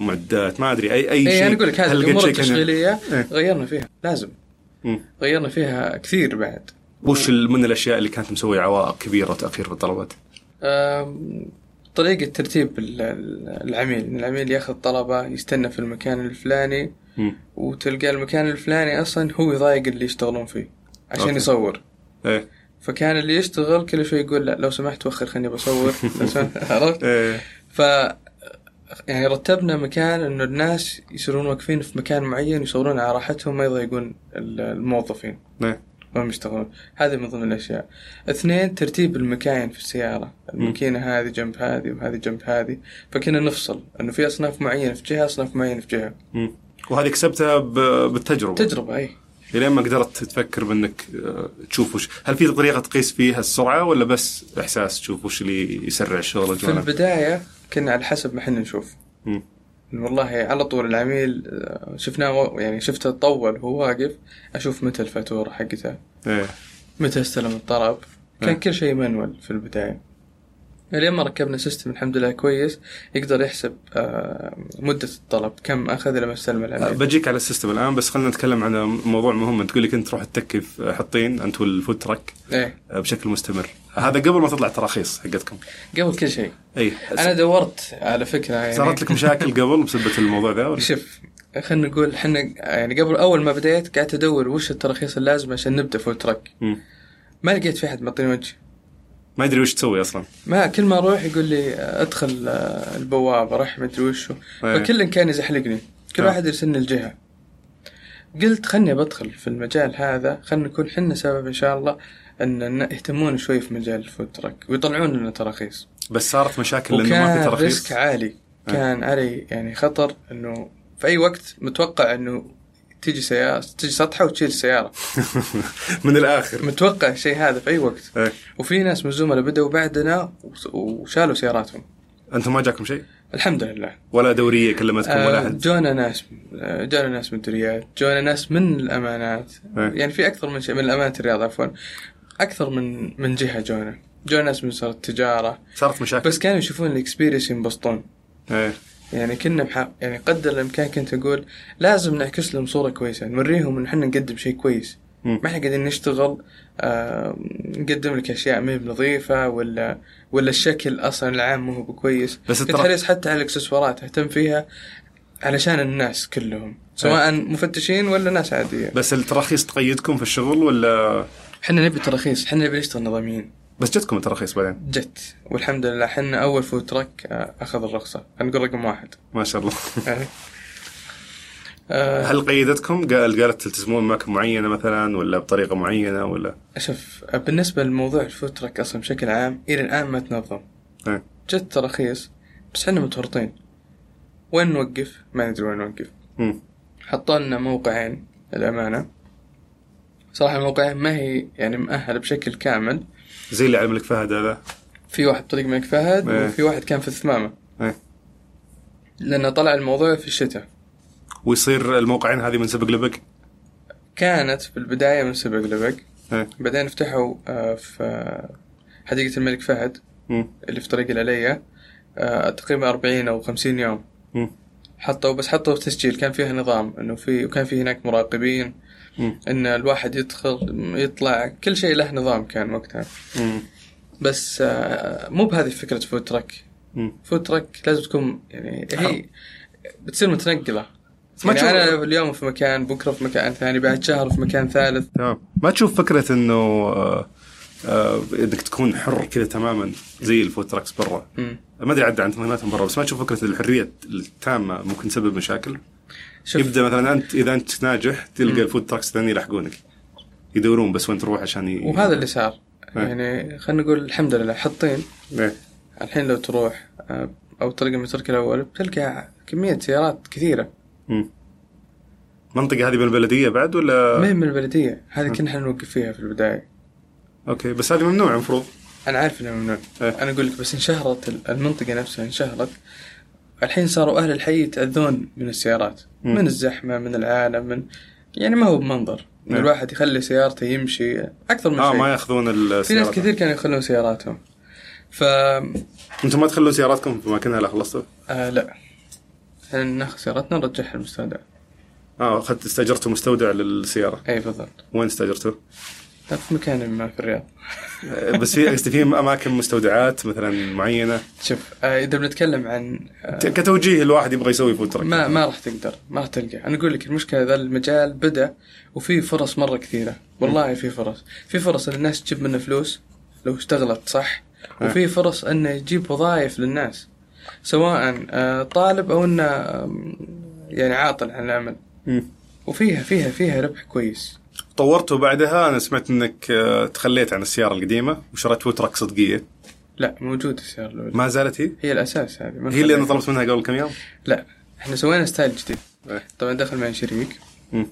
[SPEAKER 1] المعدات ما ادري اي اي
[SPEAKER 2] اي
[SPEAKER 1] شيء
[SPEAKER 2] انا اقول إيه، يعني لك هذه
[SPEAKER 1] هل لقيت
[SPEAKER 2] الامور
[SPEAKER 1] شيء كان-
[SPEAKER 2] التشغيليه
[SPEAKER 1] إيه.
[SPEAKER 2] غيرنا فيها لازم
[SPEAKER 1] مم.
[SPEAKER 2] غيرنا فيها كثير بعد
[SPEAKER 1] وش ال- من الاشياء اللي كانت مسوي عوائق كبيره وتاخير في الطلبات؟
[SPEAKER 2] أم، طريقة ترتيب ال- ال- العميل إن العميل ياخذ طلبة يستنى في المكان الفلاني
[SPEAKER 1] مم.
[SPEAKER 2] وتلقى المكان الفلاني أصلا هو يضايق اللي يشتغلون فيه عشان
[SPEAKER 1] أوكي.
[SPEAKER 2] يصور
[SPEAKER 1] ايه
[SPEAKER 2] فكان اللي يشتغل كل شوي يقول لا لو سمحت وخر خليني بصور لو سمحت عرفت
[SPEAKER 1] ايه
[SPEAKER 2] ف يعني رتبنا مكان انه الناس يصيرون واقفين في مكان معين يصورون على راحتهم ما يضايقون ال- الموظفين
[SPEAKER 1] ايه
[SPEAKER 2] وهم يشتغلون هذه من ضمن الأشياء اثنين ترتيب المكاين في السيارة الماكينة هذه جنب هذه وهذه جنب هذه فكنا نفصل أنه في أصناف معينة في جهة أصناف معينة في جهة
[SPEAKER 1] مم. وهذه كسبتها ب- بالتجربه
[SPEAKER 2] تجربة إيه. أي
[SPEAKER 1] الين ما قدرت تفكر بانك آه، تشوف وش هل في طريقه تقيس فيها السرعه ولا بس احساس تشوف وش اللي يسرع الشغل
[SPEAKER 2] في
[SPEAKER 1] جوانا؟
[SPEAKER 2] البداية كنا على حسب ما احنا نشوف
[SPEAKER 1] مم.
[SPEAKER 2] والله على طول العميل آه، شفناه و- يعني شفته تطول وهو واقف أشوف متى الفاتورة حقته
[SPEAKER 1] ايه
[SPEAKER 2] متى استلم الطلب كان
[SPEAKER 1] إيه.
[SPEAKER 2] كل شيء مانوال في البداية اليوم ركبنا سيستم الحمد لله كويس يقدر يحسب آه، مدة الطلب كم أخذ لما استلم العميل
[SPEAKER 1] آه، بجيك على السيستم الان بس خلينا نتكلم عن موضوع مهم انت تقول لي كنت تروح تتكي في حطين انت والفود تراك
[SPEAKER 2] ايه
[SPEAKER 1] آه، بشكل مستمر هذا قبل ما تطلع التراخيص حقتكم
[SPEAKER 2] قبل كل شيء
[SPEAKER 1] اي
[SPEAKER 2] انا دورت على فكره يعني
[SPEAKER 1] صارت لك مشاكل قبل بسبب الموضوع ذا ولا؟
[SPEAKER 2] شوف خلينا نقول احنا يعني قبل اول ما بديت قعدت ادور وش التراخيص اللازمه عشان نبدا فول تراك
[SPEAKER 1] مم.
[SPEAKER 2] ما لقيت في احد معطيني وجه
[SPEAKER 1] ما ادري وش تسوي اصلا
[SPEAKER 2] ما كل ما اروح يقول لي ادخل آه، البوابه راح ما ادري وشو
[SPEAKER 1] إيه.
[SPEAKER 2] فكل كان يزحلقني كل
[SPEAKER 1] آه.
[SPEAKER 2] واحد يرسلني الجهه قلت خلني بدخل في المجال هذا خلنا نكون حنا سبب ان شاء الله ان إن يهتمون شوي في مجال الفود تراك ويطلعون لنا تراخيص
[SPEAKER 1] بس صارت مشاكل لانه ما في
[SPEAKER 2] وكان ريسك
[SPEAKER 1] تراخيص آه.
[SPEAKER 2] عالي كان علي يعني خطر انه في اي وقت متوقع انه تيجي سيارة تيجي سطحة وتشيل سيارة
[SPEAKER 1] من الاخر
[SPEAKER 2] متوقع الشيء هذا في أي وقت
[SPEAKER 1] إيه.
[SPEAKER 2] وفي ناس من الزملاء بدأوا بعدنا وس- وشالوا سياراتهم
[SPEAKER 1] انتم ما جاكم شيء
[SPEAKER 2] الحمد لله
[SPEAKER 1] ولا دوريه كلمتكم ولا
[SPEAKER 2] آه،
[SPEAKER 1] احد
[SPEAKER 2] جونا ناس آه، جونا ناس من الدوريات جونا ناس من الأمانات
[SPEAKER 1] إيه.
[SPEAKER 2] يعني في أكثر من شيء من الأمانات الرياض عفوا أكثر من من جهة جونا جونا ناس من وزارة التجارة
[SPEAKER 1] صارت مشاكل
[SPEAKER 2] بس كانوا يشوفون الاكسبيرينس ينبسطون
[SPEAKER 1] ايه
[SPEAKER 2] يعني كنا بح... يعني قدر الامكان كنت اقول لازم نعكس لهم صوره كويسه نوريهم ان احنا نقدم شيء كويس
[SPEAKER 1] مم.
[SPEAKER 2] ما احنا قاعدين نشتغل آه نقدم لك اشياء ما هي بنظيفه ولا ولا الشكل اصلا العام مو هو بكويس
[SPEAKER 1] بس
[SPEAKER 2] كنت
[SPEAKER 1] الترا-
[SPEAKER 2] حريص حتى على الاكسسوارات اهتم فيها علشان الناس كلهم
[SPEAKER 1] أه.
[SPEAKER 2] سواء مفتشين ولا ناس عاديه
[SPEAKER 1] بس التراخيص تقيدكم في الشغل ولا
[SPEAKER 2] احنا نبي تراخيص احنا نبي نشتغل نظاميين
[SPEAKER 1] بس جتكم التراخيص بعدين
[SPEAKER 2] جت والحمد لله احنا اول فود تراك آه، اخذ الرخصه هنقول رقم واحد
[SPEAKER 1] ما شاء الله
[SPEAKER 2] يعني. آه،
[SPEAKER 1] هل قيدتكم قال قالت تلتزمون بأماكن معينه مثلا ولا بطريقه معينه ولا
[SPEAKER 2] شوف بالنسبة لموضوع الفود تراك أصلا بشكل عام إلى الآن ما تنظم
[SPEAKER 1] إيه.
[SPEAKER 2] جت تراخيص بس احنا متورطين وين نوقف ما ندري وين نوقف
[SPEAKER 1] مم.
[SPEAKER 2] حطوا لنا موقعين الأمانة صراحة الموقعين ما هي يعني مؤهلة بشكل كامل
[SPEAKER 1] زي اللي على الملك فهد هذا
[SPEAKER 2] في واحد طريق ملك فهد
[SPEAKER 1] إيه.
[SPEAKER 2] وفي واحد كان في الثمامة
[SPEAKER 1] إيه.
[SPEAKER 2] لأنه طلع الموضوع في الشتاء
[SPEAKER 1] ويصير الموقعين هذه من سبق لبق
[SPEAKER 2] كانت في البداية من سبق لبق
[SPEAKER 1] إيه.
[SPEAKER 2] بعدين فتحوا آه، في آه، حديقة الملك فهد
[SPEAKER 1] مم.
[SPEAKER 2] اللي في طريق العليا آه، تقريبا 40 او 50 يوم
[SPEAKER 1] مم.
[SPEAKER 2] حطوا بس حطوا تسجيل كان فيها نظام انه في وكان في هناك مراقبين
[SPEAKER 1] مم.
[SPEAKER 2] ان الواحد يدخل يطلع كل شيء له نظام كان وقتها
[SPEAKER 1] مم.
[SPEAKER 2] بس آه، مو بهذه فكره فود تراك
[SPEAKER 1] مم. أه.
[SPEAKER 2] فود تراك لازم تكون يعني هي بتصير متنقله
[SPEAKER 1] ما
[SPEAKER 2] يعني
[SPEAKER 1] تشوف-
[SPEAKER 2] انا اليوم في مكان بكره في مكان ثاني بعد شهر في مكان ثالث
[SPEAKER 1] تمام ما تشوف فكره انه آه، آه، انك تكون حر كذا تماما زي الفود تراكس برا
[SPEAKER 2] مم.
[SPEAKER 1] ما ادري عدى عن تمريناتهم برا بس ما تشوف فكره الحريه التامه ممكن تسبب مشاكل
[SPEAKER 2] شوف.
[SPEAKER 1] يبدا مثلا انت اذا انت ناجح تلقى الفود تراكس الثانيين يلحقونك يدورون بس وين تروح عشان ي...
[SPEAKER 2] وهذا اللي صار
[SPEAKER 1] إيه.
[SPEAKER 2] يعني خلينا نقول الحمد لله حطين
[SPEAKER 1] إيه.
[SPEAKER 2] الحين لو تروح آه، او طريق المترك الاول بتلقى كميه سيارات كثيره
[SPEAKER 1] مم. المنطقه هذه بالبلديه بعد ولا
[SPEAKER 2] ما هي من البلديه هذه كنا حنوقف فيها في البدايه
[SPEAKER 1] اوكي بس هذه ممنوع المفروض
[SPEAKER 2] انا عارف انه ممنوع
[SPEAKER 1] إيه.
[SPEAKER 2] انا اقول لك بس انشهرت ال- المنطقه نفسها انشهرت الحين صاروا اهل الحي يتاذون من السيارات
[SPEAKER 1] مم.
[SPEAKER 2] من الزحمه من العالم من يعني ما هو بمنظر ان
[SPEAKER 1] إيه.
[SPEAKER 2] الواحد يخلي سيارته يمشي اكثر من
[SPEAKER 1] اه
[SPEAKER 2] شيء
[SPEAKER 1] ما ياخذون السيارات
[SPEAKER 2] في ناس كثير كانوا يخلون سياراتهم ف
[SPEAKER 1] انتم ما تخلون سياراتكم في مكانها لا خلصتوا؟
[SPEAKER 2] آه لا احنا ناخذ سيارتنا نرجعها المستودع
[SPEAKER 1] اه اخذت استاجرتوا مستودع للسياره
[SPEAKER 2] اي بالضبط
[SPEAKER 1] وين استاجرتوا؟
[SPEAKER 2] لا، في مكان ما في الرياض
[SPEAKER 1] آه، بس في قصدي في اماكن مستودعات مثلا معينه
[SPEAKER 2] شوف آه، اذا بنتكلم عن آه،
[SPEAKER 1] ت- كتوجيه الواحد يبغى يسوي فود تراك
[SPEAKER 2] ما ما راح تقدر ما راح تلقى انا اقول لك المشكله ذا المجال بدا وفي فرص مره كثيره والله في فرص في فرص ان الناس تجيب منه فلوس لو اشتغلت صح وفي فرص انه يجيب وظائف للناس سواء آه، طالب او انه آم، يعني عاطل عن العمل
[SPEAKER 1] مم.
[SPEAKER 2] وفيها فيها فيها ربح كويس
[SPEAKER 1] طورته بعدها انا سمعت انك آه، تخليت عن السياره القديمه وشريت فود تراك صدقيه
[SPEAKER 2] لا موجود السيارة الأولى
[SPEAKER 1] ما زالت هي؟
[SPEAKER 2] هي الأساس هذه ما
[SPEAKER 1] هي اللي انا
[SPEAKER 2] نخليها.
[SPEAKER 1] طلبت منها قبل كم يوم؟
[SPEAKER 2] لا احنا سوينا ستايل جديد
[SPEAKER 1] إيه.
[SPEAKER 2] طبعا دخل معي شريك
[SPEAKER 1] مم.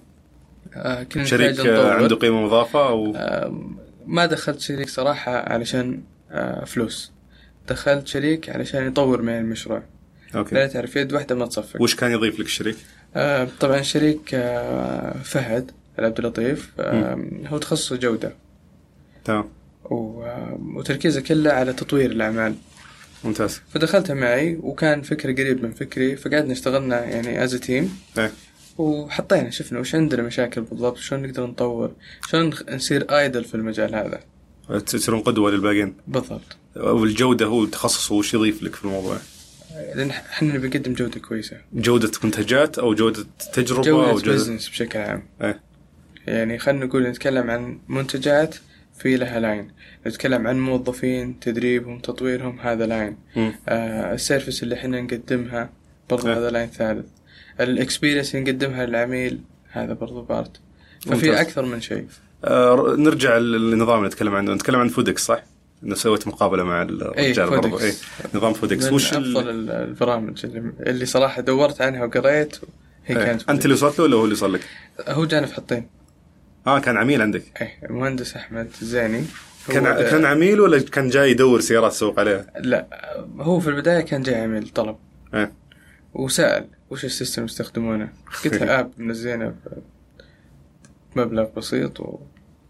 [SPEAKER 2] آه كنا
[SPEAKER 1] شريك
[SPEAKER 2] نحتاج
[SPEAKER 1] آه،
[SPEAKER 2] نطور.
[SPEAKER 1] عنده قيمه مضافه او
[SPEAKER 2] آه. آم، ما دخلت شريك صراحة علشان آه، فلوس دخلت شريك علشان يطور معي المشروع لا
[SPEAKER 1] اوكي
[SPEAKER 2] تعرف يد واحدة ما تصفق
[SPEAKER 1] وش كان يضيف لك الشريك؟
[SPEAKER 2] آه، طبعا شريك آه، فهد عبد اللطيف آه، هو تخصصه جودة
[SPEAKER 1] تمام
[SPEAKER 2] و- آه، وتركيزه كله على تطوير الأعمال
[SPEAKER 1] ممتاز
[SPEAKER 2] فدخلتها معي وكان فكرة قريب من فكري فقعدنا اشتغلنا يعني از تيم
[SPEAKER 1] إيه.
[SPEAKER 2] وحطينا شفنا وش عندنا مشاكل بالضبط شلون نقدر نطور شلون نخ- نصير ايدل في المجال هذا
[SPEAKER 1] تصيرون قدوه للباقيين
[SPEAKER 2] بالضبط
[SPEAKER 1] والجوده هو تخصصه وش يضيف لك في الموضوع؟
[SPEAKER 2] لان احنا نبي نقدم جوده كويسه
[SPEAKER 1] جوده منتجات او جوده تجربه او
[SPEAKER 2] جوده
[SPEAKER 1] جوده
[SPEAKER 2] بزنس بشكل عام
[SPEAKER 1] إيه.
[SPEAKER 2] يعني خلينا نقول نتكلم عن منتجات في لها لاين نتكلم عن موظفين تدريبهم تطويرهم هذا لاين
[SPEAKER 1] مم.
[SPEAKER 2] آه السيرفس اللي احنا نقدمها برضو
[SPEAKER 1] إيه.
[SPEAKER 2] هذا لاين ثالث الاكسبيرينس اللي نقدمها للعميل هذا برضو بارت
[SPEAKER 1] ممتاز.
[SPEAKER 2] ففي اكثر من شيء
[SPEAKER 1] آه نرجع للنظام اللي نتكلم عنه نتكلم عن فودكس صح؟ انه سويت مقابله مع الرجال
[SPEAKER 2] إيه، فودكس.
[SPEAKER 1] برضو اي نظام فودكس
[SPEAKER 2] من
[SPEAKER 1] وش ال-
[SPEAKER 2] افضل ال- البرامج اللي, اللي صراحه دورت عنها وقريت هي
[SPEAKER 1] إيه.
[SPEAKER 2] كانت
[SPEAKER 1] انت اللي وصلت له ولا هو اللي وصل لك؟
[SPEAKER 2] هو جاني في حطين
[SPEAKER 1] اه كان عميل عندك
[SPEAKER 2] ايه المهندس احمد الزيني هو
[SPEAKER 1] كان
[SPEAKER 2] ده-
[SPEAKER 1] كان عميل ولا كان جاي يدور سيارات يسوق عليها؟
[SPEAKER 2] لا هو في البدايه كان جاي عميل طلب
[SPEAKER 1] إيه.
[SPEAKER 2] وسال وش السيستم يستخدمونه قلت له "آه، اب منزلينه بمبلغ بسيط و...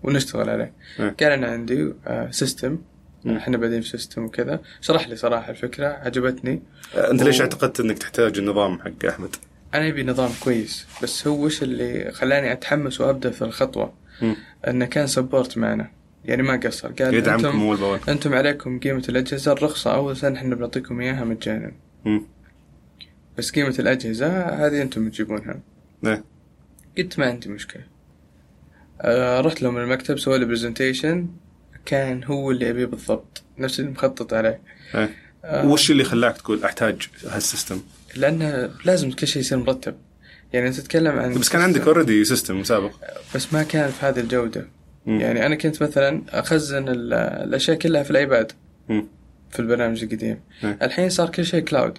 [SPEAKER 2] ونشتغل عليه
[SPEAKER 1] إيه.
[SPEAKER 2] قال انا عندي آه، سيستم
[SPEAKER 1] مم.
[SPEAKER 2] احنا بادئين في سيستم وكذا شرح لي صراحه الفكره عجبتني
[SPEAKER 1] آه انت ليش
[SPEAKER 2] أوه.
[SPEAKER 1] اعتقدت انك تحتاج النظام حق احمد؟
[SPEAKER 2] انا يبي نظام كويس بس هو وش اللي خلاني اتحمس وابدا في الخطوه
[SPEAKER 1] مم.
[SPEAKER 2] انه كان سبورت معنا يعني ما قصر قال
[SPEAKER 1] يدعمكم
[SPEAKER 2] انتم
[SPEAKER 1] مو البوابه
[SPEAKER 2] انتم عليكم قيمه الاجهزه الرخصه اول سنه احنا بنعطيكم اياها مجانا
[SPEAKER 1] مم.
[SPEAKER 2] بس قيمة الأجهزة هذه أنتم تجيبونها
[SPEAKER 1] إيه.
[SPEAKER 2] قلت ما عندي مشكلة آه رحت لهم المكتب سووا لي برزنتيشن كان هو اللي أبيه بالضبط نفس اللي مخطط عليه
[SPEAKER 1] إيه.
[SPEAKER 2] آه
[SPEAKER 1] وش اللي خلاك تقول احتاج هالسيستم؟
[SPEAKER 2] لأنه لازم كل شيء يصير مرتب يعني أنت تتكلم عن
[SPEAKER 1] بس كان عندك اوريدي سيستم سابق
[SPEAKER 2] بس ما كان في هذه الجودة
[SPEAKER 1] مم.
[SPEAKER 2] يعني أنا كنت مثلا أخزن ال- الأشياء كلها في الأيباد
[SPEAKER 1] مم.
[SPEAKER 2] في البرنامج القديم
[SPEAKER 1] إيه.
[SPEAKER 2] الحين صار كل شيء كلاود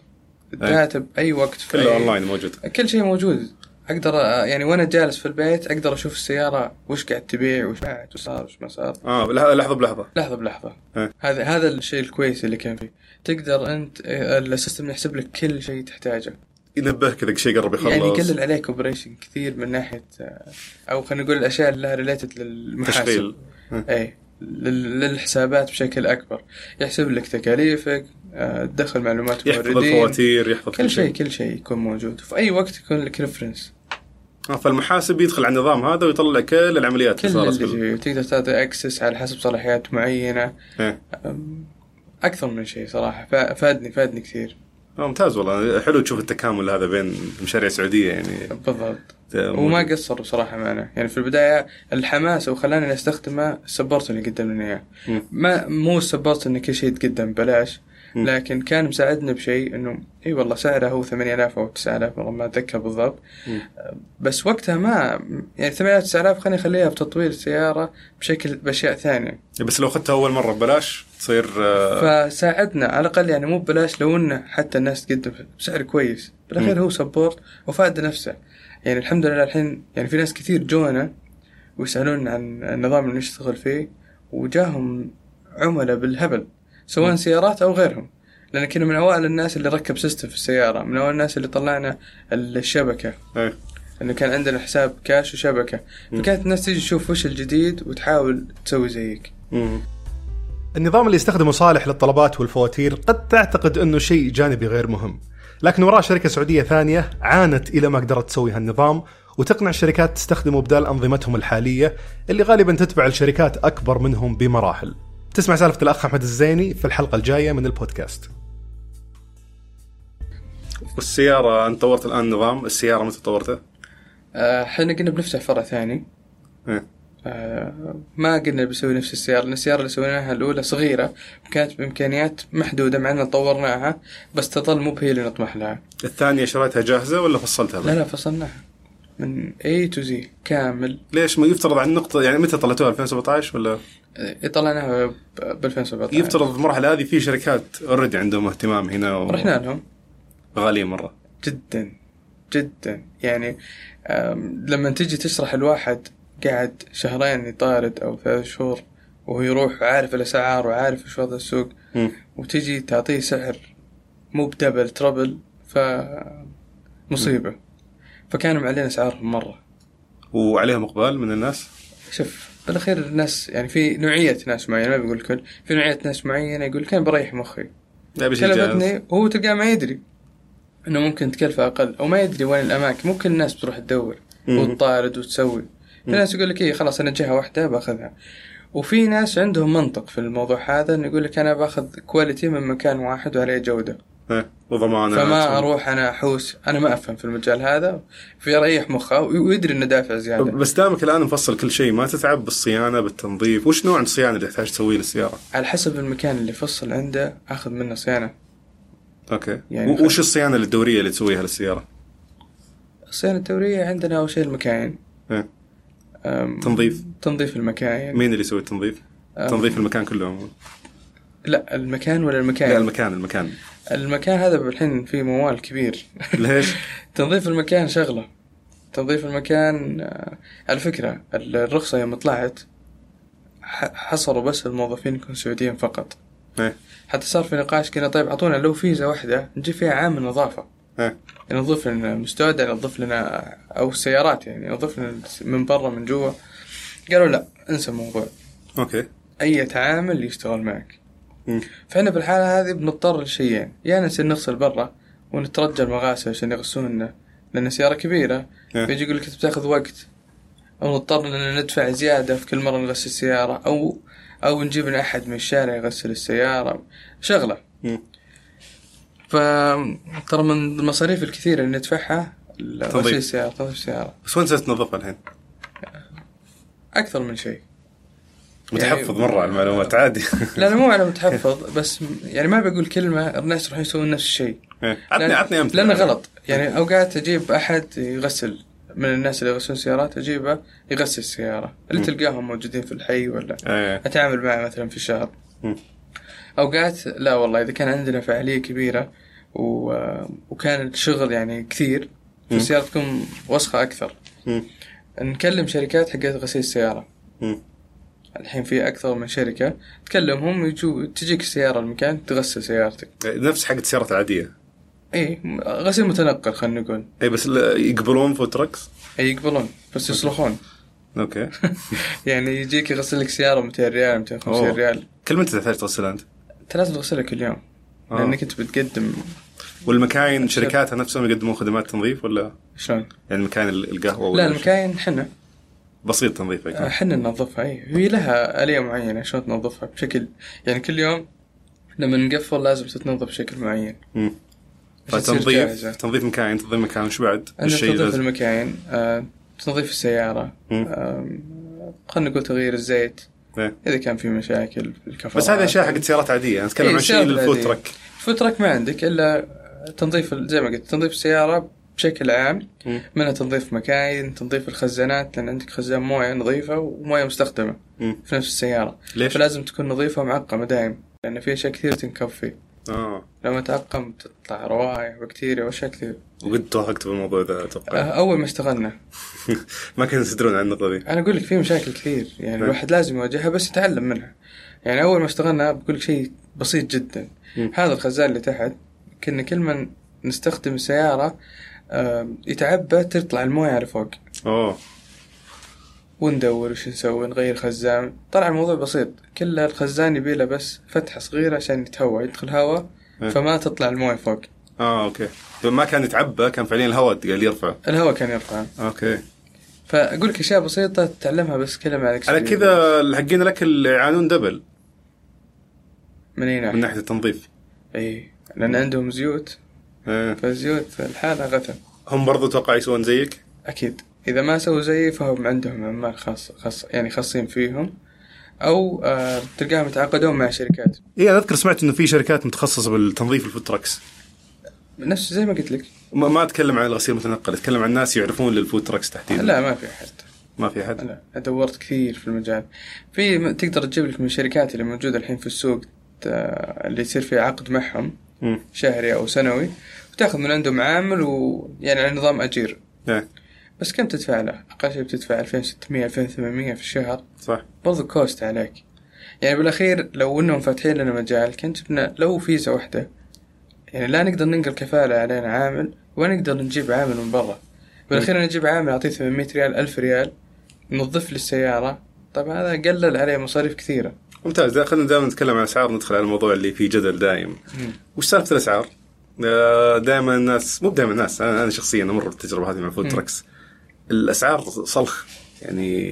[SPEAKER 2] الداتا بأي وقت في
[SPEAKER 1] كله
[SPEAKER 2] أي-
[SPEAKER 1] اونلاين موجود
[SPEAKER 2] كل شيء موجود اقدر أ- يعني وانا جالس في البيت اقدر اشوف السياره وش قاعد تبيع وش باعت وش صار وش ما صار
[SPEAKER 1] اه لح- لحظه بلحظه
[SPEAKER 2] لحظه بلحظه
[SPEAKER 1] إيه.
[SPEAKER 2] هذا هذا الشيء الكويس اللي كان فيه تقدر انت آه، السيستم يحسب لك كل شيء تحتاجه
[SPEAKER 1] ينبهك اذا شيء قرب يخلص
[SPEAKER 2] يعني يقلل عليك اوبريشن كثير من ناحيه آه، او خلينا نقول الاشياء اللي لها ريليتد للمحاسب
[SPEAKER 1] تشغيل
[SPEAKER 2] اي إيه، لل- للحسابات بشكل اكبر يحسب لك تكاليفك آه، تدخل معلومات
[SPEAKER 1] يحفظ
[SPEAKER 2] الموردين
[SPEAKER 1] الفواتير يحفظ
[SPEAKER 2] كل شيء كل شيء يكون موجود في اي وقت يكون لك ريفرنس
[SPEAKER 1] آه، فالمحاسب يدخل على النظام هذا ويطلع كل العمليات
[SPEAKER 2] كل
[SPEAKER 1] اللي
[SPEAKER 2] اللي
[SPEAKER 1] صارت بال-
[SPEAKER 2] فيه. تقدر تعطي اكسس على حسب صلاحيات معينه
[SPEAKER 1] إيه.
[SPEAKER 2] أم، اكثر من شيء صراحه فا- فادني فادني كثير
[SPEAKER 1] آه، ممتاز والله حلو تشوف التكامل هذا بين مشاريع سعوديه يعني
[SPEAKER 2] بالضبط
[SPEAKER 1] آه،
[SPEAKER 2] وما
[SPEAKER 1] موجود.
[SPEAKER 2] قصروا صراحه معنا يعني في البدايه الحماس وخلاني استخدمه السبورت اللي قدم لنا اياه
[SPEAKER 1] مم.
[SPEAKER 2] ما مو السبورت ان كل شيء يتقدم ببلاش لكن كان مساعدنا بشيء انه اي والله سعره هو 8000 او 9000 والله ما اتذكر بالضبط بس وقتها ما يعني 8000 9000 خليني اخليها في تطوير السياره بشكل باشياء ثانيه
[SPEAKER 1] بس لو اخذتها اول مره ببلاش تصير آه،
[SPEAKER 2] فساعدنا على الاقل يعني مو ببلاش لو انه حتى الناس تقدم بسعر كويس بالاخير هو سبورت وفاد نفسه يعني الحمد لله الحين يعني في ناس كثير جونا ويسالون عن النظام اللي نشتغل فيه وجاهم عملاء بالهبل سواء سيارات او غيرهم لان كنا من اوائل الناس اللي ركب سيستم في السياره من اوائل الناس اللي طلعنا الشبكه
[SPEAKER 1] إيه.
[SPEAKER 2] انه كان عندنا حساب كاش وشبكه فكانت الناس تيجي تشوف وش الجديد وتحاول تسوي زيك
[SPEAKER 1] مم.
[SPEAKER 3] النظام اللي يستخدمه صالح للطلبات والفواتير قد تعتقد انه شيء جانبي غير مهم، لكن وراه شركه سعوديه ثانيه عانت الى ما قدرت تسوي هالنظام وتقنع الشركات تستخدمه بدال انظمتهم الحاليه اللي غالبا تتبع الشركات اكبر منهم بمراحل. تسمع سالفه الاخ احمد الزيني في الحلقه الجايه من البودكاست.
[SPEAKER 1] والسياره انت طورت الان نظام السياره متى طورته؟
[SPEAKER 2] آه، احنا قلنا بنفتح فرع ثاني
[SPEAKER 1] إيه.
[SPEAKER 2] آه، ما قلنا بنسوي نفس السيارة لأن السيارة اللي سويناها الأولى صغيرة كانت بإمكانيات محدودة مع أننا طورناها بس تظل مو بهي اللي نطمح لها
[SPEAKER 1] الثانيه شريتها جاهزه ولا فصلتها؟
[SPEAKER 2] لا لا فصلناها من A to Z كامل
[SPEAKER 1] ليش ما يفترض عن النقطه يعني متى طلعتوها 2017 ولا
[SPEAKER 2] آه، طلعناها ب 2017
[SPEAKER 1] يفترض المرحله هذه في شركات اوريدي عندهم اهتمام هنا و...
[SPEAKER 2] رحنا لهم
[SPEAKER 1] غاليه مره
[SPEAKER 2] جدا جدا يعني آم، لما تجي تشرح الواحد قاعد شهرين يطارد او ثلاث شهور وهو يروح عارف الاسعار وعارف وش وضع السوق
[SPEAKER 1] مم.
[SPEAKER 2] وتجي تعطيه سعر مو بدبل تربل ف مصيبه فكانوا معلين اسعارهم مره
[SPEAKER 1] وعليهم اقبال من الناس
[SPEAKER 2] شوف بالاخير الناس يعني في نوعيه ناس معينه ما بقول الكل في نوعيه ناس معينه يقول كان بريح مخي
[SPEAKER 1] لا بشيء جاهز
[SPEAKER 2] كلفتني وهو تلقاه ما يدري انه ممكن تكلفه اقل او ما يدري وين الاماكن مو كل الناس تروح تدور
[SPEAKER 1] مم.
[SPEAKER 2] وتطارد وتسوي في ناس يقول لك ايه خلاص انا جهه واحده باخذها وفي ناس عندهم منطق في الموضوع هذا انه يقول لك انا باخذ كواليتي من مكان واحد وعليه جوده
[SPEAKER 1] إيه. وضمانات
[SPEAKER 2] فما اروح انا احوس انا ما افهم في المجال هذا فيريح مخه ويدري انه دافع زياده
[SPEAKER 1] بس دامك الان مفصل كل شيء ما تتعب بالصيانه بالتنظيف وش نوع الصيانه اللي تحتاج تسويه للسياره؟
[SPEAKER 2] على حسب المكان اللي فصل عنده اخذ منه صيانه
[SPEAKER 1] اوكي
[SPEAKER 2] يعني
[SPEAKER 1] يعني وش الصيانه الدوريه اللي تسويها للسياره؟
[SPEAKER 2] الصيانه الدوريه عندنا اول شيء المكاين
[SPEAKER 1] إيه.
[SPEAKER 2] أم،
[SPEAKER 1] تنظيف
[SPEAKER 2] تنظيف المكاين
[SPEAKER 1] مين اللي يسوي التنظيف؟
[SPEAKER 2] أم،
[SPEAKER 1] تنظيف المكان كله عموماً.
[SPEAKER 2] لا المكان ولا المكان
[SPEAKER 1] لا المكان المكان
[SPEAKER 2] المكان هذا الحين فيه موال كبير
[SPEAKER 1] ليش؟
[SPEAKER 2] تنظيف المكان شغله تنظيف المكان آه، على فكرة الرخصة يوم طلعت ح- حصروا بس الموظفين يكونوا سعوديين فقط
[SPEAKER 1] إيه.
[SPEAKER 2] حتى صار في نقاش كنا طيب اعطونا لو فيزا واحدة نجيب فيها عامل نظافة
[SPEAKER 1] إيه.
[SPEAKER 2] ينظف لنا مستودع ينظف لنا او السيارات يعني ينظف لنا من برا من جوا قالوا لا انسى الموضوع
[SPEAKER 1] اوكي
[SPEAKER 2] اي عامل يشتغل معك
[SPEAKER 1] مم.
[SPEAKER 2] فاحنا بالحاله هذه بنضطر لشيئين يا يعني نصير نغسل برا ونترجى المغاسل عشان يغسلونا لان السياره كبيره
[SPEAKER 1] إيه.
[SPEAKER 2] فيجي يقول لك أنت بتاخذ وقت او نضطر اننا ندفع زياده في كل مره نغسل السياره او او نجيب لنا احد من الشارع يغسل السياره شغله
[SPEAKER 1] مم.
[SPEAKER 2] فترى من المصاريف الكثيره اللي ندفعها
[SPEAKER 1] تنظيف.
[SPEAKER 2] غسيل السياره تنظيف السياره
[SPEAKER 1] بس وين تنظفها الحين؟
[SPEAKER 2] اكثر من شيء
[SPEAKER 1] متحفظ مره على المعلومات عادي
[SPEAKER 2] يعني لا انا مو على متحفظ بس يعني ما بقول كلمه الناس يروحون يسوون نفس الشيء
[SPEAKER 1] إيه. عطني
[SPEAKER 2] لأن-
[SPEAKER 1] عطني امثله
[SPEAKER 2] لانه غلط يعني اوقات اجيب احد يغسل من الناس اللي يغسلون سيارات اجيبه يغسل السياره اللي تلقاهم موجودين في الحي ولا
[SPEAKER 1] إيه.
[SPEAKER 2] اتعامل معه مثلا في شهر
[SPEAKER 1] مم.
[SPEAKER 2] اوقات لا والله اذا كان عندنا فعاليه كبيره و... وكان الشغل يعني كثير فالسياره تكون وسخه اكثر
[SPEAKER 1] مم.
[SPEAKER 2] نكلم شركات حقت غسيل السياره
[SPEAKER 1] مم.
[SPEAKER 2] الحين في اكثر من شركه تكلمهم يجو تجيك السياره المكان تغسل سيارتك
[SPEAKER 1] إيه، نفس حق السيارات العاديه
[SPEAKER 2] اي غسيل متنقل خلينا نقول
[SPEAKER 1] اي إيه، بس لا- يقبلون فود تراكس
[SPEAKER 2] اي يقبلون بس يصرخون
[SPEAKER 1] اوكي
[SPEAKER 2] يعني يجيك يغسل لك سياره 200 ريال 250
[SPEAKER 1] أوه.
[SPEAKER 2] ريال
[SPEAKER 1] كل متى تحتاج تغسلها انت؟
[SPEAKER 2] انت لازم تغسلها كل يوم
[SPEAKER 1] آه.
[SPEAKER 2] لانك انت بتقدم
[SPEAKER 1] والمكاين شركاتها نفسهم يقدمون خدمات تنظيف ولا
[SPEAKER 2] شلون؟
[SPEAKER 1] يعني المكاين ال- القهوه ولا
[SPEAKER 2] لا
[SPEAKER 1] شيء؟
[SPEAKER 2] المكاين آه. حنا
[SPEAKER 1] بسيط تنظيفك
[SPEAKER 2] حنا ننظفها اي هي لها اليه معينه شلون تنظفها بشكل يعني كل يوم لما نقفل لازم تتنظف بشكل معين
[SPEAKER 1] مم.
[SPEAKER 2] عشان تصير
[SPEAKER 1] فتنظيف
[SPEAKER 2] جاهزة.
[SPEAKER 1] تنظيف مكاين تنظيف مكان وش بعد؟
[SPEAKER 2] عندنا
[SPEAKER 1] الشيء
[SPEAKER 2] تنظيف
[SPEAKER 1] لازم
[SPEAKER 2] المكاين آه، تنظيف السياره
[SPEAKER 1] مم.
[SPEAKER 2] آم، خلينا نقول تغيير الزيت
[SPEAKER 1] إيه.
[SPEAKER 2] اذا كان في مشاكل في الكفاءه
[SPEAKER 1] بس هذه اشياء حقت سيارات عاديه انا
[SPEAKER 2] إيه،
[SPEAKER 1] اتكلم عن شيء للفوت ترك
[SPEAKER 2] الفوترك ما عندك الا تنظيف ال- زي ما قلت تنظيف السياره بشكل عام
[SPEAKER 1] مم.
[SPEAKER 2] منها تنظيف مكاين تنظيف الخزانات لان عندك خزان مويه نظيفه ومويه مستخدمه
[SPEAKER 1] مم.
[SPEAKER 2] في نفس السياره
[SPEAKER 1] ليش؟
[SPEAKER 2] فلازم تكون نظيفه ومعقمه دائم لان في اشياء كثير تنكب فيه
[SPEAKER 1] اه
[SPEAKER 2] لما تعقم تطلع روايح وبكتيريا واشياء كثير
[SPEAKER 1] وقد توهقت بالموضوع ذا اتوقع
[SPEAKER 2] آه، اول ما اشتغلنا
[SPEAKER 1] ما كانوا يستدرون عن النقطه ذي
[SPEAKER 2] انا اقول لك في مشاكل كثير يعني
[SPEAKER 1] نعم.
[SPEAKER 2] الواحد لازم يواجهها بس يتعلم منها يعني اول ما اشتغلنا بقول لك شيء بسيط جدا
[SPEAKER 1] مم.
[SPEAKER 2] هذا الخزان اللي تحت كنا كل ما نستخدم السياره آه، يتعبى تطلع المويه على فوق
[SPEAKER 1] اوه
[SPEAKER 2] وندور وش نسوي نغير خزان طلع الموضوع بسيط كل الخزان يبي له بس فتحه صغيره عشان يتهوى يدخل هواء
[SPEAKER 1] إيه.
[SPEAKER 2] فما تطلع المويه فوق
[SPEAKER 1] اه اوكي ما كان يتعبى كان فعليا الهواء قاعد يرفعه
[SPEAKER 2] الهواء كان يرفع
[SPEAKER 1] اوكي
[SPEAKER 2] فاقول لك اشياء بسيطه تتعلمها بس كلها مع
[SPEAKER 1] على
[SPEAKER 2] الإكسبيرينس.
[SPEAKER 1] كذا الحقين لك اللي يعانون دبل
[SPEAKER 2] من اي
[SPEAKER 1] من
[SPEAKER 2] ناحيه
[SPEAKER 1] ناحيه التنظيف
[SPEAKER 2] اي لان عندهم زيوت
[SPEAKER 1] إيه.
[SPEAKER 2] فالزيوت الحالة غثا
[SPEAKER 1] هم برضو توقع يسوون زيك
[SPEAKER 2] أكيد إذا ما سووا زيي فهم عندهم عمال خاص خاص يعني خاصين فيهم أو آه تلقاهم يتعاقدون مع شركات
[SPEAKER 1] اي انا اذكر إيه، سمعت انه في شركات متخصصه بالتنظيف الفود تراكس
[SPEAKER 2] نفس زي ما قلت لك
[SPEAKER 1] ما, ما اتكلم عن الغسيل المتنقل اتكلم عن ناس يعرفون للفود تراكس تحديدا
[SPEAKER 2] لا ما في أحد
[SPEAKER 1] ما في احد
[SPEAKER 2] لا دورت كثير في المجال في م- تقدر تجيب لك من الشركات اللي موجودة الحين في السوق آه، اللي يصير فيه عقد معهم
[SPEAKER 1] مم.
[SPEAKER 2] شهري أو سنوي وتاخذ من عندهم عامل ويعني على نظام أجير
[SPEAKER 1] إيه.
[SPEAKER 2] بس كم تدفع له؟ أقل شيء بتدفع 2600 2800 في الشهر
[SPEAKER 1] صح
[SPEAKER 2] برضو كوست عليك يعني بالاخير لو انهم فاتحين لنا مجال كنت جبنا لو فيزا واحده يعني لا نقدر ننقل كفاله علينا عامل ولا نقدر نجيب عامل من برا بالاخير انا اجيب عامل اعطيه 800 ريال 1000 ريال نظف لي السياره طب هذا قلل عليه مصاريف كثيره
[SPEAKER 1] ممتاز دا- خلينا دائما نتكلم عن اسعار ندخل على الموضوع اللي فيه جدل دايم وش سالفه الاسعار؟ دائما آه، الناس مو دائما الناس انا أنا شخصيا امر بالتجربه هذه مع فود تراكس الاسعار صلخ يعني